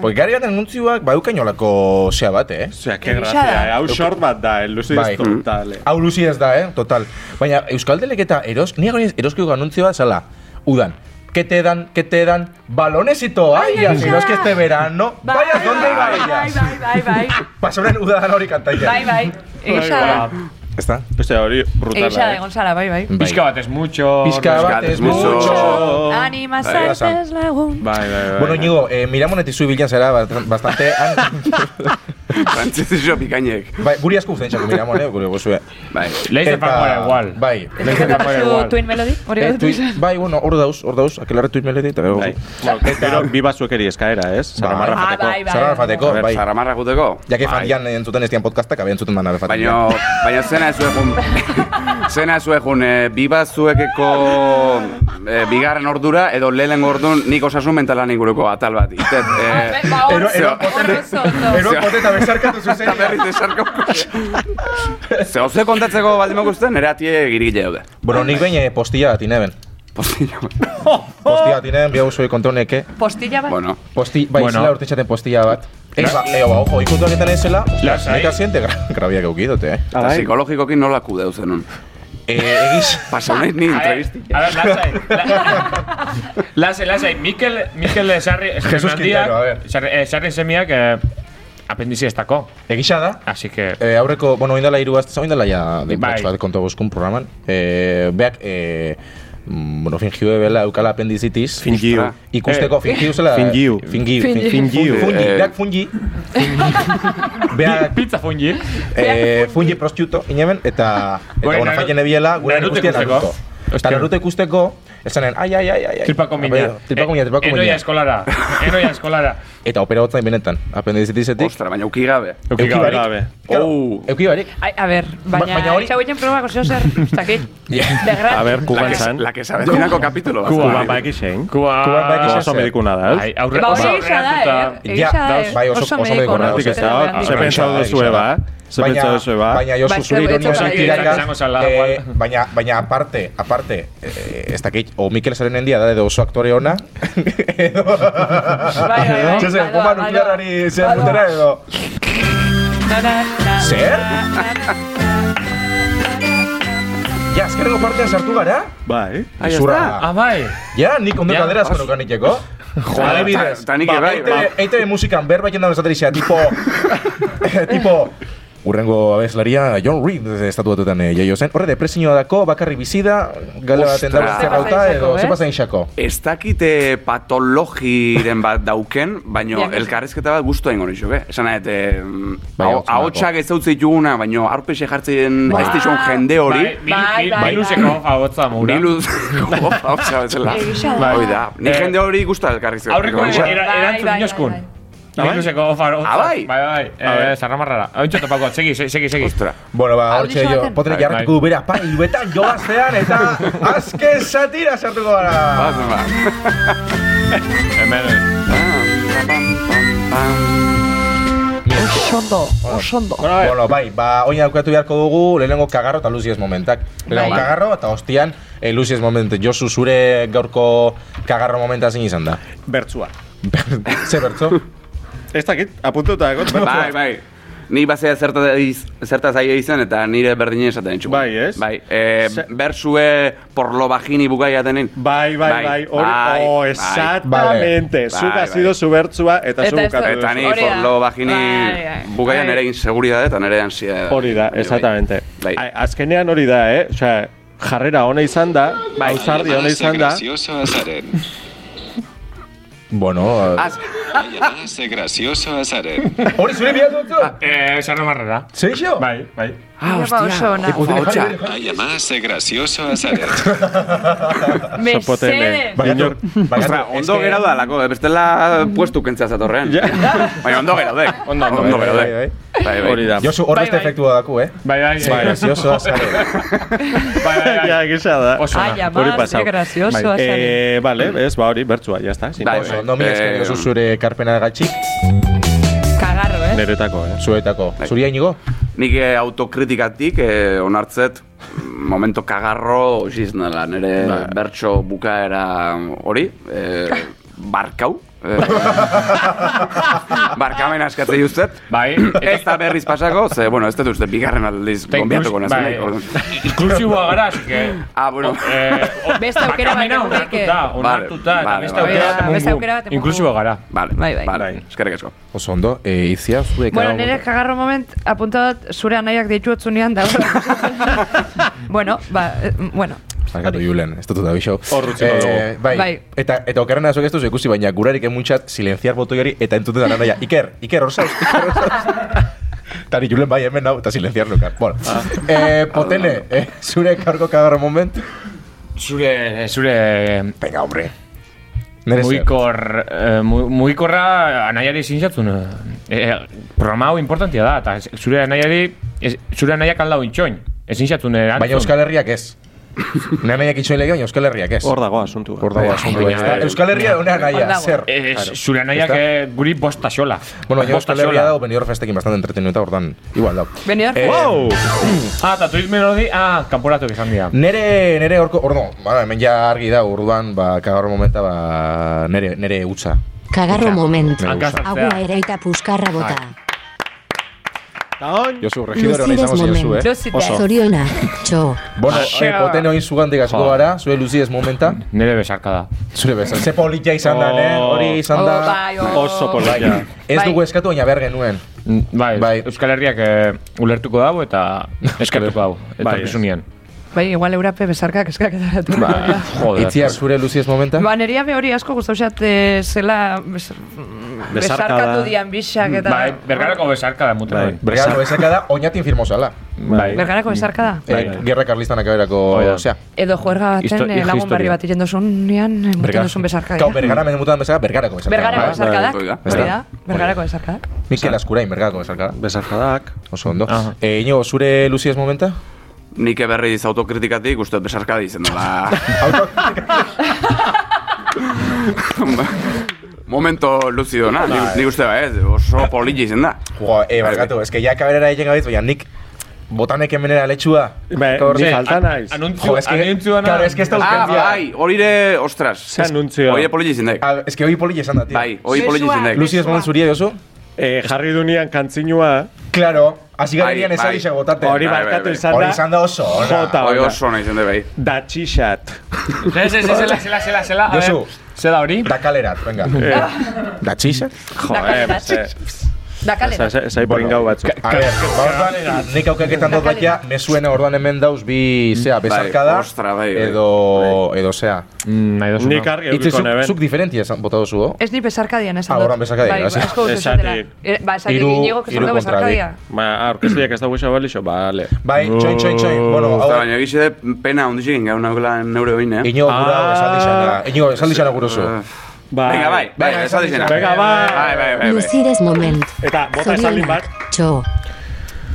[SPEAKER 2] Porque gari baten anuntzioak badukain olako sea bat, eh?
[SPEAKER 5] Osea, que
[SPEAKER 4] Egisa
[SPEAKER 5] grazia,
[SPEAKER 4] da.
[SPEAKER 5] eh? hau short bat da, eh? luzi
[SPEAKER 2] Bai.
[SPEAKER 5] diztotale.
[SPEAKER 2] Hau luzi ez da, eh? Total. Baina Euskal Teleketa eros, ni agoniz eroskiko anuntzioa zala. Udan. Que te dan, que te dan balonesito, ay, así no es que este verano. Vaya, ¿dónde
[SPEAKER 4] bai, bai,
[SPEAKER 2] vayas?
[SPEAKER 4] bai, bai, bai.
[SPEAKER 2] Pasoren udadan hori kantaia.
[SPEAKER 4] Bai, bai. Egisa da.
[SPEAKER 2] ¿Está?
[SPEAKER 5] Osea, hori
[SPEAKER 4] Egisa
[SPEAKER 5] brutala,
[SPEAKER 4] da,
[SPEAKER 5] eh?
[SPEAKER 4] Gonzala, bai, bai.
[SPEAKER 3] Pizka bat ez mucho.
[SPEAKER 2] Pizka bat
[SPEAKER 6] Euskal
[SPEAKER 2] ez mucho.
[SPEAKER 4] Anima
[SPEAKER 2] Bai, gasa.
[SPEAKER 4] zaitez lagun.
[SPEAKER 5] Bai, bai, bai.
[SPEAKER 2] Bueno, Ñigo, eh, miramonetik zuibilan zara bastan- bastante... Han,
[SPEAKER 6] Frantzizio bikainek.
[SPEAKER 2] bai, guri asko guztain txako miramon, eh, gure gozue.
[SPEAKER 6] Bai.
[SPEAKER 3] Leiz de Fangola igual.
[SPEAKER 2] Bai.
[SPEAKER 4] Ez
[SPEAKER 3] Bai,
[SPEAKER 4] da
[SPEAKER 3] igual.
[SPEAKER 4] Twin Melody, hori
[SPEAKER 2] Eh,
[SPEAKER 4] bat
[SPEAKER 2] tuit-
[SPEAKER 4] duzu.
[SPEAKER 2] bai, bueno, hor dauz, hor dauz, aquelarre tuit melete eta gero.
[SPEAKER 5] Bai. Bueno, Pero bi batzuek eri eskaera, ez? Zara marra
[SPEAKER 4] Ah,
[SPEAKER 5] jateko.
[SPEAKER 4] bai, bai.
[SPEAKER 2] Zara alfateko,
[SPEAKER 5] A ver,
[SPEAKER 2] bai.
[SPEAKER 6] Zaramarra guteko.
[SPEAKER 2] Ja que fatian entzuten ez dian podcastak, abe entzuten dana fatian.
[SPEAKER 6] Baina, baina zena ez egun, *laughs* zena ez egun, e, bibazuekeko e, bigarren ordura, edo lehen ordun nik osasun mentalan inguruko atal bat. Itet, e,
[SPEAKER 4] Ba, hor,
[SPEAKER 2] Ero- ero-
[SPEAKER 4] hor oso ondo.
[SPEAKER 2] Ero poteta bezarkatu zuzen.
[SPEAKER 6] eta berriz esarko. Ze oze kontatzeko baldin mokusten, nire atie girigile daude.
[SPEAKER 2] Bueno, nik baina postilla bat ineben.
[SPEAKER 6] Postilla.
[SPEAKER 2] Postilla bat ineben, biau zoi kontoneke.
[SPEAKER 4] Postilla bat.
[SPEAKER 6] Bueno,
[SPEAKER 2] ¿eh? Posti, bai,
[SPEAKER 3] Bueno.
[SPEAKER 2] zela urte txaten postilla bat. Ez, ba, eo, ba, ojo, ikutuak eta nahi zela, ostras,
[SPEAKER 3] Lasai.
[SPEAKER 2] nik asiente gra- *laughs* grabiak eukidote, eh.
[SPEAKER 5] Ah,
[SPEAKER 6] eta
[SPEAKER 5] bai?
[SPEAKER 6] psikologikokin nola kudeu zenun.
[SPEAKER 2] Eh, egiz,
[SPEAKER 6] Pasau nahi
[SPEAKER 3] *laughs*
[SPEAKER 6] ni
[SPEAKER 5] eh?
[SPEAKER 3] A ver,
[SPEAKER 6] entrevisti.
[SPEAKER 3] a ver, lasai. La- Lasai, lasai. Mikel, Mikel Sarri,
[SPEAKER 2] Jesus Quintero, a ver.
[SPEAKER 3] Sarri, Sarri semiak eh, apendizia ez dako.
[SPEAKER 2] egisa da,
[SPEAKER 3] Así que...
[SPEAKER 2] Eh, aurreko, bueno, oindala hiru azte, oindala ja de
[SPEAKER 3] Bai.
[SPEAKER 2] bat kontua bozkun programan. Eh, beak, eh, mm, bueno, fingiu ebela eukala apendizitiz.
[SPEAKER 5] Fingiu.
[SPEAKER 6] Ostra.
[SPEAKER 2] Ikusteko, fingiu zela...
[SPEAKER 5] Fingiu.
[SPEAKER 2] Fingiu.
[SPEAKER 4] Fingiu.
[SPEAKER 5] Fingiu.
[SPEAKER 2] Fungi,
[SPEAKER 6] Eh.
[SPEAKER 2] beak fungi. Beak
[SPEAKER 3] Pizza fungi.
[SPEAKER 2] eh, fungi prostiuto, inemen, eta... Eta,
[SPEAKER 3] Gure
[SPEAKER 2] bueno,
[SPEAKER 3] Naru-
[SPEAKER 2] faien ebiela, gure
[SPEAKER 3] Naruto
[SPEAKER 2] guztia
[SPEAKER 3] ikusteko.
[SPEAKER 2] Naruto. Eta Naruto ikusteko, esanen, ai, ai, ai, ai, ai.
[SPEAKER 3] Tripako mina.
[SPEAKER 2] Tripako mina, tripako
[SPEAKER 3] mina. Eh, Enoia
[SPEAKER 2] mina.
[SPEAKER 3] eskolara. Enoia eskolara.
[SPEAKER 2] Eta opera hotzain benetan, apendizitizetik.
[SPEAKER 6] Ostra, baina uki gabe.
[SPEAKER 3] Euki
[SPEAKER 2] Euki
[SPEAKER 3] gabe.
[SPEAKER 2] barik.
[SPEAKER 5] Gabe.
[SPEAKER 2] Claro,
[SPEAKER 6] Oh.
[SPEAKER 2] Euki barik.
[SPEAKER 4] Ai, a ber, baina
[SPEAKER 2] baina
[SPEAKER 4] baina
[SPEAKER 2] hori-
[SPEAKER 4] hori hauetan probako zeo zer, ez dakit. De gran.
[SPEAKER 5] A ber,
[SPEAKER 6] La
[SPEAKER 5] kuban
[SPEAKER 6] que,
[SPEAKER 5] zan.
[SPEAKER 6] la que sabe finako kapitulo. bat. Bai.
[SPEAKER 5] Kuban baiki zein.
[SPEAKER 3] Kua...
[SPEAKER 2] Kuban baiki
[SPEAKER 5] bai, Oso
[SPEAKER 2] zer.
[SPEAKER 5] medikuna
[SPEAKER 6] eh?
[SPEAKER 5] da,
[SPEAKER 3] Ai,
[SPEAKER 5] ez?
[SPEAKER 3] Bai, aurre...
[SPEAKER 4] Ba,
[SPEAKER 3] oso
[SPEAKER 4] hori egisa da,
[SPEAKER 3] aurreratuta.
[SPEAKER 4] eh, egisa
[SPEAKER 2] Ja,
[SPEAKER 4] da,
[SPEAKER 2] dauz, bai, oso- oso mediko
[SPEAKER 4] mediko,
[SPEAKER 5] Horretik
[SPEAKER 2] Horregatik
[SPEAKER 5] ez da,
[SPEAKER 4] oso
[SPEAKER 5] ze
[SPEAKER 4] mediko.
[SPEAKER 5] pentsau duzue ba? Ze
[SPEAKER 2] Baina-
[SPEAKER 5] pentsau duzue ba?
[SPEAKER 2] Baina
[SPEAKER 4] Ba,
[SPEAKER 2] Josu
[SPEAKER 4] ez
[SPEAKER 2] zure
[SPEAKER 4] da,
[SPEAKER 2] ironia
[SPEAKER 4] ez da,
[SPEAKER 2] sentira
[SPEAKER 4] ez da,
[SPEAKER 2] ikas,
[SPEAKER 3] izango zala,
[SPEAKER 2] eh,
[SPEAKER 3] Juan.
[SPEAKER 2] baina, baina aparte, aparte, eh, ez dakit, o Mikel Zarenendia da edo oso aktore ona, edo...
[SPEAKER 4] bai, bai, bai,
[SPEAKER 2] Zezen, bomba
[SPEAKER 4] bai,
[SPEAKER 2] nuklearrari
[SPEAKER 4] bai,
[SPEAKER 2] zean
[SPEAKER 4] bai,
[SPEAKER 2] dutera
[SPEAKER 4] bai.
[SPEAKER 2] edo...
[SPEAKER 4] Na, na, na,
[SPEAKER 2] Zer?
[SPEAKER 4] na, na,
[SPEAKER 2] Ja, azkerreko partean sartu gara?
[SPEAKER 5] Bai.
[SPEAKER 6] Ai, ez
[SPEAKER 2] Izurra.
[SPEAKER 6] da.
[SPEAKER 3] Ah, bai.
[SPEAKER 2] Ja, nik ondo
[SPEAKER 3] Ja,
[SPEAKER 2] kadera
[SPEAKER 3] os-
[SPEAKER 2] azkenukan iteko.
[SPEAKER 6] Joder,
[SPEAKER 2] Adibidez, ba,
[SPEAKER 6] ta- ta nik ere bai,
[SPEAKER 2] EITB
[SPEAKER 6] ba. *laughs*
[SPEAKER 2] EITB musikan berba jendan esateri zea, tipo... tipo... Urrengo abeslaria John Reed estatuatutan eh, jaio zen. Horre, depresioa dako, bakarri bizi da, gala baten
[SPEAKER 6] Ostra.
[SPEAKER 2] dago zerrauta,
[SPEAKER 4] Zepazain
[SPEAKER 2] edo
[SPEAKER 4] xako, eh?
[SPEAKER 2] zepazain xako.
[SPEAKER 6] Ez dakite patologiren bat dauken, baino
[SPEAKER 4] Diagnosi.
[SPEAKER 6] elkarrezketa bat guztu egingo nixoke. Esan nahet, eh,
[SPEAKER 2] Bai,
[SPEAKER 6] hau-
[SPEAKER 2] hau zelako.
[SPEAKER 6] ahotsak ez dautze dituguna, baino arpexe jartzen
[SPEAKER 5] Bai.
[SPEAKER 6] ez dizon jende hori.
[SPEAKER 3] Bai, bil-
[SPEAKER 4] Bai,
[SPEAKER 3] bil-
[SPEAKER 4] bai,
[SPEAKER 3] Biluseko ahotsa moura.
[SPEAKER 6] Biluz, *laughs*
[SPEAKER 5] *laughs*
[SPEAKER 6] hau bezala.
[SPEAKER 4] Egia da.
[SPEAKER 6] Hoi da, ni
[SPEAKER 3] Eh,
[SPEAKER 6] jende hori guztu elkarrizketa.
[SPEAKER 3] Aurreko
[SPEAKER 6] Bai.
[SPEAKER 3] era-
[SPEAKER 4] Bai,
[SPEAKER 3] erantzun
[SPEAKER 4] bai,
[SPEAKER 3] dioskun.
[SPEAKER 4] bai,
[SPEAKER 3] Bai, Biluseko ahotsa.
[SPEAKER 6] Ah, bai?
[SPEAKER 3] Bai, bai. Eh, zarra marrara. Hau intxo topako, segi, segi, segi, segi.
[SPEAKER 6] Ostra.
[SPEAKER 2] Bueno, ba,
[SPEAKER 4] Audition
[SPEAKER 2] hortxe jo,
[SPEAKER 4] baten.
[SPEAKER 2] potre
[SPEAKER 3] Bai,
[SPEAKER 2] jarretuko
[SPEAKER 3] bai.
[SPEAKER 2] du bera, pa, iruetan jolazean, eta azken satira sartuko gara.
[SPEAKER 6] Bazen ba.
[SPEAKER 3] Hemen.
[SPEAKER 4] Osondo, osondo.
[SPEAKER 2] Bueno, bai, ba, oin aukatu beharko dugu lehenengo kagarro eta luziez momentak. Lehenengo
[SPEAKER 4] Bai.
[SPEAKER 2] kagarro eta hostian e, luziez momentu. Josu, zure gaurko kagarro momenta zein izan da?
[SPEAKER 5] Bertzua.
[SPEAKER 2] Ze bertzo?
[SPEAKER 5] Ez dakit, apuntuta egot,
[SPEAKER 6] Bai, bai. Ni bazea zerta zerta zaie izan eta nire berdinen esaten ditugu.
[SPEAKER 5] Bai, ez?
[SPEAKER 6] Bai, eh,
[SPEAKER 5] Ze-
[SPEAKER 6] bersue porlo bajini bukaia denen.
[SPEAKER 5] Bai, bai,
[SPEAKER 6] Bai,
[SPEAKER 5] bai, hori,
[SPEAKER 6] bai,
[SPEAKER 5] oh,
[SPEAKER 6] bai.
[SPEAKER 5] exactamente,
[SPEAKER 6] Bai,
[SPEAKER 5] zuk
[SPEAKER 6] bai.
[SPEAKER 5] ha sido zu bertzua, eta zu
[SPEAKER 4] Eta ez
[SPEAKER 5] bukatu
[SPEAKER 4] dut-
[SPEAKER 5] duzu.
[SPEAKER 6] Eta ni
[SPEAKER 4] Hori da.
[SPEAKER 6] porlo bajini
[SPEAKER 4] Bai, bai.
[SPEAKER 6] bukaia
[SPEAKER 4] Bai.
[SPEAKER 6] nire inseguridade eta nire ansiedade.
[SPEAKER 5] Hori da,
[SPEAKER 6] Bai,
[SPEAKER 5] exactamente.
[SPEAKER 6] Bai.
[SPEAKER 5] A- Azkenean hori da, eh? Osea, jarrera ona izan da,
[SPEAKER 6] Bai.
[SPEAKER 5] ausardi
[SPEAKER 6] Ah,
[SPEAKER 5] ona izan da. *laughs*
[SPEAKER 8] gracioso Azaren.
[SPEAKER 2] bueno, eh,
[SPEAKER 6] Az-
[SPEAKER 8] Hace gracioso Azaren.
[SPEAKER 2] hori zure bihaz dutzu?
[SPEAKER 3] Eh, zarra marrara.
[SPEAKER 2] Zeixo?
[SPEAKER 3] Bai, bai.
[SPEAKER 6] Ah,
[SPEAKER 4] Baina ba oso ona.
[SPEAKER 6] Ahotsa.
[SPEAKER 8] Hace gracioso Azaren.
[SPEAKER 4] Mesedez.
[SPEAKER 2] Bagatu,
[SPEAKER 6] Ostra, ondo gerau da lako, eh, bestela puestu kentzea zatorrean. Baina ondo gerau dek. Ondo, ondo gerau dek. Bai, bai.
[SPEAKER 5] Hori da.
[SPEAKER 2] Josu, hor
[SPEAKER 4] Bai,
[SPEAKER 2] beste
[SPEAKER 4] bai.
[SPEAKER 2] efektua daku, eh?
[SPEAKER 3] Bai, bai.
[SPEAKER 2] Ze gracioso azare.
[SPEAKER 3] Bai,
[SPEAKER 5] *laughs*
[SPEAKER 3] bai,
[SPEAKER 5] Ja,
[SPEAKER 3] bai.
[SPEAKER 5] gisa da.
[SPEAKER 3] Oso
[SPEAKER 4] Ai,
[SPEAKER 3] ona.
[SPEAKER 5] Hori
[SPEAKER 4] ama,
[SPEAKER 5] pasau.
[SPEAKER 4] ze gracioso.
[SPEAKER 5] Bai.
[SPEAKER 4] azaren.
[SPEAKER 5] Eh, vale, ez, ba hori, bertzua, ya está. sin
[SPEAKER 6] Bai,
[SPEAKER 5] cosa.
[SPEAKER 2] Oso, no mi esker
[SPEAKER 6] Eh,
[SPEAKER 2] Josu zure karpena gatxik,
[SPEAKER 4] Kagarro, eh?
[SPEAKER 5] Neretako, eh?
[SPEAKER 2] zuetako. Zuria inigo?
[SPEAKER 6] Nik eh, autokritikatik eh, onartzet momento kagarro xiznela, nire bertso bukaera hori, eh, barkau. Eh, barkamen askatzei ustet. *clears throat*
[SPEAKER 3] Bai.
[SPEAKER 6] Ez da berriz pasako, ze, bueno, ez dut uste bigarren aldiz
[SPEAKER 3] Eta
[SPEAKER 6] gombiatuko
[SPEAKER 3] inklusi-
[SPEAKER 6] nazen.
[SPEAKER 3] bai.
[SPEAKER 6] orduan.
[SPEAKER 3] Inklusiboa gara, así que...
[SPEAKER 6] Ah,
[SPEAKER 3] *laughs*
[SPEAKER 6] bueno.
[SPEAKER 3] Eh, o-
[SPEAKER 4] Beste aukera bat
[SPEAKER 3] bakamena
[SPEAKER 4] egon daiteke.
[SPEAKER 3] onartuta, onartuta,
[SPEAKER 6] Vale,
[SPEAKER 3] eta
[SPEAKER 6] vale,
[SPEAKER 3] beste
[SPEAKER 6] vale.
[SPEAKER 3] aukera bat
[SPEAKER 4] Beste
[SPEAKER 3] emungu.
[SPEAKER 4] aukera bat emungu.
[SPEAKER 3] Inklusiboa gara.
[SPEAKER 6] Vale,
[SPEAKER 4] Bai, bai.
[SPEAKER 6] vale. Eskerrik asko.
[SPEAKER 2] Oso ondo, e, izia, zure
[SPEAKER 4] Bueno,
[SPEAKER 2] kagarro
[SPEAKER 4] nire
[SPEAKER 2] momenta.
[SPEAKER 4] kagarro moment, apunta dut, zure anaiak deitu otzunean da. bueno, ba, eh, bueno.
[SPEAKER 2] Barkatu Julen, ez dut da bixo.
[SPEAKER 5] Hor utziko dugu.
[SPEAKER 2] bai.
[SPEAKER 4] Bai.
[SPEAKER 2] Eta, eta okerrena zuek ez duzu ikusi, baina gurarik emuntxat silenciar botoi hori eta entzuten da nanaia. Iker, Iker, hor zauz, Iker,
[SPEAKER 5] *laughs*
[SPEAKER 2] hor zauz. Eta ni Julen bai hemen nau, eta silenciar nukar. Bueno,
[SPEAKER 5] Ah.
[SPEAKER 2] eh, potene, eh, zure kargo kagarro moment.
[SPEAKER 3] Zure, zure
[SPEAKER 2] Venga, hombre. Nere zer.
[SPEAKER 3] Mugikor, eh, mu- mugikorra anaiari zintzatzun. Eh, eh, programa hau importantia da, eta ez- zure anaiari, ez- zure anaiak aldau intxoin. Ez eh, zintzatzun erantzun.
[SPEAKER 2] Baina Euskal Herriak ez. Nanaiak itxoin lege, baina Euskal Herriak ez.
[SPEAKER 5] Hor dago eh? Bai. asuntua.
[SPEAKER 2] Hor dago asuntua,
[SPEAKER 3] baina-
[SPEAKER 2] ez
[SPEAKER 5] eh.
[SPEAKER 2] da. Euskal Herria una
[SPEAKER 4] Hor
[SPEAKER 2] naia,
[SPEAKER 4] dago.
[SPEAKER 2] zer.
[SPEAKER 3] Eh, ez- zure anaiak
[SPEAKER 2] Ezta?
[SPEAKER 3] eh, guri bosta xola.
[SPEAKER 2] Bueno, baina
[SPEAKER 3] Bosta
[SPEAKER 2] Euskal Herria
[SPEAKER 3] xola.
[SPEAKER 2] dago benidorm festekin bastante entretenuta, ordan. Igual dago.
[SPEAKER 4] Benidorm
[SPEAKER 2] Eh,
[SPEAKER 5] Wow!
[SPEAKER 3] Ah, eta tuit melodi, ah, kanporatuak izan dira.
[SPEAKER 2] Nere, nere orko, ordo, ba, hemen ja argi da, urduan, ba, kagarro momenta, ba, nere, nere utza.
[SPEAKER 9] Kagarro momentu.
[SPEAKER 2] Nere utza.
[SPEAKER 3] Hankaz-
[SPEAKER 9] Agua eh. eraita puskarra bota.
[SPEAKER 5] Taon!
[SPEAKER 2] Josu, regidore hona
[SPEAKER 9] Luzides
[SPEAKER 2] izango zinazu, eh?
[SPEAKER 9] momentu.
[SPEAKER 4] Luzides. Oso.
[SPEAKER 9] Zorionak. Txo.
[SPEAKER 2] Bueno, eh, poten oin zugantik hasiko
[SPEAKER 3] Jo.
[SPEAKER 2] gara, zure luzides momenta,
[SPEAKER 3] Nere besarka da.
[SPEAKER 2] zure bezan. Ze polita izan da, eh? Hori izan
[SPEAKER 4] Oh,
[SPEAKER 2] da.
[SPEAKER 4] bai, oh.
[SPEAKER 5] Oso
[SPEAKER 2] Bai,
[SPEAKER 5] polita.
[SPEAKER 2] Ez
[SPEAKER 4] Bai.
[SPEAKER 2] dugu eskatu, baina behar genuen.
[SPEAKER 3] Mm, Bai,
[SPEAKER 2] Bai.
[SPEAKER 3] Euskal Herriak eh, ulertuko dago eta eskertuko dago. Eta
[SPEAKER 5] Bai.
[SPEAKER 3] pisunean.
[SPEAKER 4] Bai, igual eurape besarkak eskak ataratu. Ba,
[SPEAKER 3] *laughs* Joder.
[SPEAKER 2] Itziar, zure luzides momenta?
[SPEAKER 4] ba neria be hori asko gustausat eh, zela bes, besarkatu dian bixak eta...
[SPEAKER 3] Bai, bergarako besarka da muten.
[SPEAKER 5] Bai.
[SPEAKER 3] hori.
[SPEAKER 2] Bergara, bezaka da, oinatin firmozala.
[SPEAKER 3] Bai.
[SPEAKER 4] Bergarako besarka da.
[SPEAKER 2] Eh, Gerra karlistanak aberako,
[SPEAKER 3] Hoi da.
[SPEAKER 2] osea.
[SPEAKER 4] Edo juerga
[SPEAKER 3] Histo-
[SPEAKER 4] baten eh, lagun
[SPEAKER 3] historia.
[SPEAKER 4] barri bat itxendo zunean, muten eh, duzun besarka.
[SPEAKER 2] Kau, bergara menemutan bezala, bergarako bezarka.
[SPEAKER 4] Bergarako
[SPEAKER 2] Bai.
[SPEAKER 4] besarkadak,
[SPEAKER 6] Hori da.
[SPEAKER 4] hori da, bergarako besarkadak.
[SPEAKER 2] Mikel Azkurain, bergarako bezarka.
[SPEAKER 5] Besarkadak.
[SPEAKER 2] Oso ondo.
[SPEAKER 3] Aha.
[SPEAKER 2] Eh, Iñigo, zure luzides momenta?
[SPEAKER 6] Nik berriz autokritikatik uste dut besarka dizen dela. *laughs* Momento luzido, na?
[SPEAKER 5] Bai.
[SPEAKER 6] Nik, nik uste ba, ez? Oso politi izen da.
[SPEAKER 2] Jo, eh,
[SPEAKER 6] bai.
[SPEAKER 2] barkatu, eske ja kaberera egin gabiz, baina nik botanek hemenera letxua.
[SPEAKER 5] Be,
[SPEAKER 2] Gaur-
[SPEAKER 5] Bai, ni
[SPEAKER 3] Ze,
[SPEAKER 5] falta
[SPEAKER 3] an-
[SPEAKER 5] naiz.
[SPEAKER 3] Anuntzu,
[SPEAKER 2] Jo, eske,
[SPEAKER 3] anuntzu ana-
[SPEAKER 2] claro, eske ez da
[SPEAKER 6] Ah,
[SPEAKER 2] urgentzia.
[SPEAKER 6] bai, hori ere, ostras.
[SPEAKER 5] Ze anuntzio. Bai.
[SPEAKER 6] Hori politi izen da.
[SPEAKER 2] Ah, eske hoi poli esan da, tío.
[SPEAKER 6] Bai, hori politi izen da.
[SPEAKER 2] Luzi ez moment zuria, Josu?
[SPEAKER 5] Eh, jarri dunian kantzinua,
[SPEAKER 2] Claro, hasi
[SPEAKER 6] Bai,
[SPEAKER 2] garenean
[SPEAKER 6] bai.
[SPEAKER 2] ezagisa botaten.
[SPEAKER 5] hori
[SPEAKER 6] bai,
[SPEAKER 5] barkatu
[SPEAKER 6] bai.
[SPEAKER 5] izan
[SPEAKER 2] Hori
[SPEAKER 5] da.
[SPEAKER 2] izan da oso, ona.
[SPEAKER 5] Jota,
[SPEAKER 6] Hori
[SPEAKER 5] ona.
[SPEAKER 6] oso nahi zen da, bai.
[SPEAKER 5] Datxixat.
[SPEAKER 3] Ez, ez, ez, zela, zela, zela, zela. a
[SPEAKER 2] Josu.
[SPEAKER 3] ber, Zela hori. Eh.
[SPEAKER 6] Eh.
[SPEAKER 2] Da kalerat, venga. Da txisa?
[SPEAKER 5] Joder, ze-
[SPEAKER 4] Da kalera.
[SPEAKER 5] Zaiporin gau batzu.
[SPEAKER 2] A ber, gaur danera, nik aukaketan dut bakia, nesuen orduan hemen dauz bi, zea, besarkada,
[SPEAKER 6] ostra, bai, bai.
[SPEAKER 2] edo, edo zea.
[SPEAKER 3] Nahi dozu.
[SPEAKER 5] Nik argi
[SPEAKER 2] Itzi,
[SPEAKER 5] eukiko
[SPEAKER 2] zuk,
[SPEAKER 5] neben.
[SPEAKER 2] zuk diferentia esan bota duzu, oh? o?
[SPEAKER 4] Ez ni besarkadian esan
[SPEAKER 2] Ah,
[SPEAKER 4] dut.
[SPEAKER 2] orduan besarkadian,
[SPEAKER 4] Bai,
[SPEAKER 2] hasi.
[SPEAKER 4] asko dut
[SPEAKER 5] Esatik.
[SPEAKER 4] esatela. Eh, Ba, esatik
[SPEAKER 2] Hiru-
[SPEAKER 4] inigok esan
[SPEAKER 2] hiru
[SPEAKER 4] du
[SPEAKER 2] kontra bi.
[SPEAKER 4] besarkadia.
[SPEAKER 5] Ba, aurkezliak ez da guxa balixo, bale.
[SPEAKER 2] Bai, txoin, txoin, txoin. Bueno, hau,
[SPEAKER 6] Eta baina egize pena ondixik ingau nagoela neure eh? oine.
[SPEAKER 2] inigo gura,
[SPEAKER 5] Ah.
[SPEAKER 2] esaldi xana. Inigo, esaldi xana gura
[SPEAKER 6] Ah.
[SPEAKER 2] zu.
[SPEAKER 5] Ba,
[SPEAKER 6] Venga, bai, bai,
[SPEAKER 2] Venga,
[SPEAKER 6] esaldi zena.
[SPEAKER 5] Venga, bai.
[SPEAKER 6] Bai, bai, bai, bai.
[SPEAKER 9] Lucides moment.
[SPEAKER 5] Eta, bota esaldin bat.
[SPEAKER 9] Zorionak. Txo.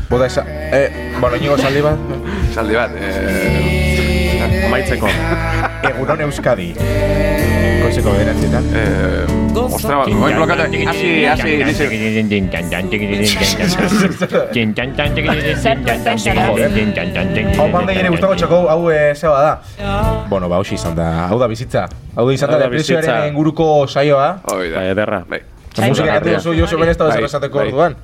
[SPEAKER 2] Bota esa... Eh, bueno, inigo esaldi
[SPEAKER 6] *laughs*
[SPEAKER 2] bat.
[SPEAKER 6] Esaldi bat. Eh,
[SPEAKER 5] Amaitzeko.
[SPEAKER 2] Egunon Euskadi. Koizeko bederatzietan.
[SPEAKER 6] eh, ostra bat, goen blokatu. Asi, asi, nizik.
[SPEAKER 2] *laughs*
[SPEAKER 6] Eh,
[SPEAKER 2] Hau mande gire gustako txoko, hau eh, zea da. Bueno, ba, hausi izan da. Hau da bizitza. Hau da izan da
[SPEAKER 5] Hau da bizitza.
[SPEAKER 2] depresioaren inguruko saioa.
[SPEAKER 6] Hoi da.
[SPEAKER 5] Bai, ederra.
[SPEAKER 6] Bai.
[SPEAKER 2] Musika karte oso jo zuen ez da
[SPEAKER 6] Bai,
[SPEAKER 2] bezala esateko
[SPEAKER 6] bai.
[SPEAKER 2] orduan.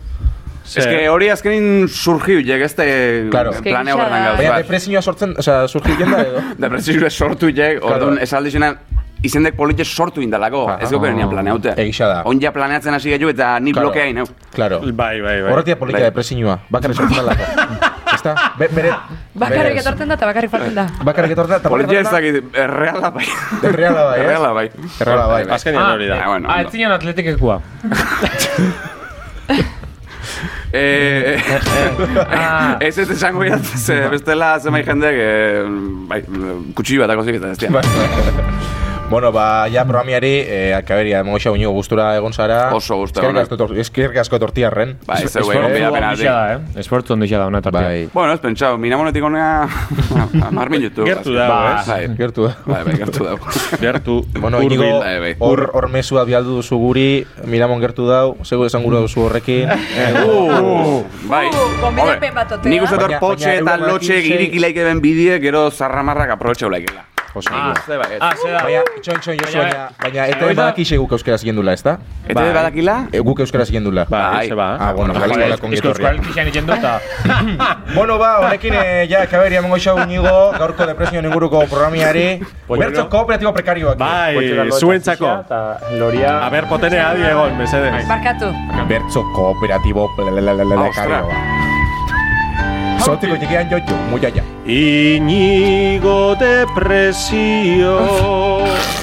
[SPEAKER 6] Ez que hori azkenin surgiu, jek ez de
[SPEAKER 2] Claro.
[SPEAKER 6] plane
[SPEAKER 4] Es que
[SPEAKER 6] horretan
[SPEAKER 4] gisa da.
[SPEAKER 6] gauz
[SPEAKER 2] Baina
[SPEAKER 6] bat.
[SPEAKER 2] depresioa sortzen, osea, surgitzen da
[SPEAKER 6] *laughs*
[SPEAKER 2] edo.
[SPEAKER 6] Depresioa sortu jek, orduan
[SPEAKER 2] Claro.
[SPEAKER 6] esaldi zena izendek politxe sortu indalako,
[SPEAKER 2] Aha.
[SPEAKER 6] ez gauke nian planeaute.
[SPEAKER 2] Egisa da.
[SPEAKER 6] Onja planeatzen hasi gaitu eta ni
[SPEAKER 2] Claro.
[SPEAKER 6] blokeain, hau.
[SPEAKER 2] Claro.
[SPEAKER 5] Bai, bai, bai.
[SPEAKER 2] Horretia polita
[SPEAKER 6] Bai.
[SPEAKER 2] depresioa. Bakarrik sortzen da
[SPEAKER 6] *laughs*
[SPEAKER 2] lako. Ezta? Be- Bere...
[SPEAKER 4] Bakarrik
[SPEAKER 2] berez.
[SPEAKER 4] etortzen da eta bakarrik falten da.
[SPEAKER 2] Bakarrik etortzen da. eta
[SPEAKER 6] Politxe ez
[SPEAKER 2] bakarrik
[SPEAKER 6] dakit, erreala bai.
[SPEAKER 2] Erreala bai, ez?
[SPEAKER 6] Erreala bai.
[SPEAKER 2] Erreala bai.
[SPEAKER 5] Azkenean hori da.
[SPEAKER 6] Ah, bueno,
[SPEAKER 3] Ah,
[SPEAKER 6] ondo.
[SPEAKER 3] ez zinean atletikekua.
[SPEAKER 6] Eh,
[SPEAKER 2] Ah.
[SPEAKER 6] *laughs* ez ez esango idat,
[SPEAKER 2] Bai.
[SPEAKER 6] ze bestela zenbait jendek, eh, bai, kutsi bat akozik eta ez
[SPEAKER 2] Bai.
[SPEAKER 6] dira.
[SPEAKER 2] *laughs* Bueno, ba, ja programiari, eh, alkaberia, emango xa uñigo gustura egon zara.
[SPEAKER 6] Oso gustura,
[SPEAKER 2] Eskerrik
[SPEAKER 6] ona.
[SPEAKER 2] asko tor- Eskerrik asko tortiarren.
[SPEAKER 6] Bai, ez zeu
[SPEAKER 2] eh,
[SPEAKER 6] egon bera pena.
[SPEAKER 3] Ondixea da, eh? Esfortzu ondixea da, una tartia.
[SPEAKER 2] Bai,
[SPEAKER 6] Bueno, ez pentsau, minamonetik ona amar minutu.
[SPEAKER 5] Gertu dago,
[SPEAKER 6] Ba,
[SPEAKER 5] ez?
[SPEAKER 6] Bai,
[SPEAKER 2] gertu da.
[SPEAKER 6] bai, bai, gertu dago.
[SPEAKER 5] Gertu.
[SPEAKER 2] Bueno,
[SPEAKER 5] hurbil.
[SPEAKER 2] Inigo,
[SPEAKER 6] bai, bai.
[SPEAKER 2] hor, hor mesua bialdu duzu guri, Miramon gertu dau, zego esan gura duzu horrekin. Eh,
[SPEAKER 6] Uh. Bai.
[SPEAKER 4] Uh, gonbidapen bat otea.
[SPEAKER 6] Nik uste dut
[SPEAKER 2] Baina-
[SPEAKER 6] potxe
[SPEAKER 2] baina
[SPEAKER 6] eta
[SPEAKER 2] egun
[SPEAKER 6] lotxe
[SPEAKER 2] batekin
[SPEAKER 6] girik
[SPEAKER 2] sei-
[SPEAKER 6] ilaik eben bidie, gero zarramarrak aprobetxau laikela.
[SPEAKER 2] Oso
[SPEAKER 3] Ah,
[SPEAKER 2] ondo.
[SPEAKER 6] Ze bai,
[SPEAKER 3] Ah, ze da.
[SPEAKER 2] Baina, txon, txon, Josu, baina, baina ete
[SPEAKER 3] Baina-
[SPEAKER 2] badakixe guk euskera zigien dula, ez da?
[SPEAKER 6] Eta bai. badakila?
[SPEAKER 2] Eh, Guk euskera zigien dula.
[SPEAKER 5] Bai, ze ba.
[SPEAKER 2] Ah, bueno,
[SPEAKER 6] Joder,
[SPEAKER 2] jalesko la
[SPEAKER 3] Ez que euskal kixan egin duta.
[SPEAKER 2] Bueno, ba, honekin, eh, ja, kaberia emango xau inigo, gaurko depresioen inguruko programiari. Bertso kooperatibo prekarioak.
[SPEAKER 5] Bai, zuentzako.
[SPEAKER 3] Loria...
[SPEAKER 5] A ber, potenea, Diego, mesedez.
[SPEAKER 4] Barkatu.
[SPEAKER 2] Bertzo kooperatibo
[SPEAKER 6] Ostra.
[SPEAKER 2] prekarioa. Zotiko txikian jojo, muia ja.
[SPEAKER 5] Inigo depresio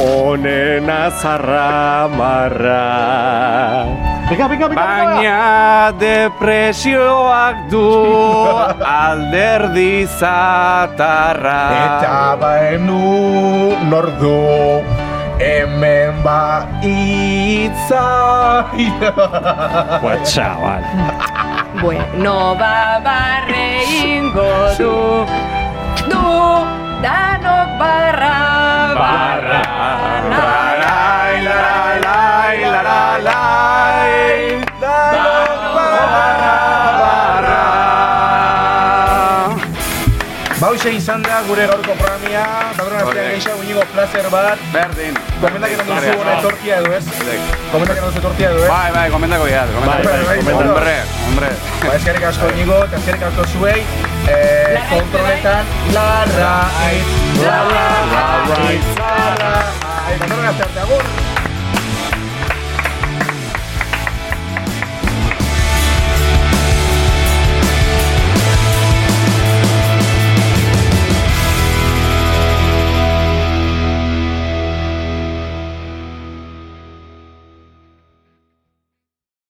[SPEAKER 5] Honen azarra marra Bika, bika,
[SPEAKER 6] Baina depresioak du alderdi zatarra.
[SPEAKER 2] Eta baenu nordu Hemen ba itza
[SPEAKER 5] Guatxabal
[SPEAKER 4] Bueno, ba, barre ingo du. Du, danok barra, barra.
[SPEAKER 6] Larai, larai, lai, larai, lai.
[SPEAKER 2] Bauxe izan da gure gaurko programia Badron
[SPEAKER 6] Ole.
[SPEAKER 2] aztean geixa unigo placer bat
[SPEAKER 6] Berdin.
[SPEAKER 2] Komendak egon duzu gure tortia edo ez Komendak egon duzu tortia edo ez
[SPEAKER 6] Bai, bai, komendako iat, komendako.
[SPEAKER 2] Bai, bai, komendako.
[SPEAKER 6] Hombre, hombre.
[SPEAKER 2] Ba eskerrik asko unigo, eta eskerrik asko zuei Eh, kontroletan Larra aiz, larra aiz, larra aiz Badron aztean agur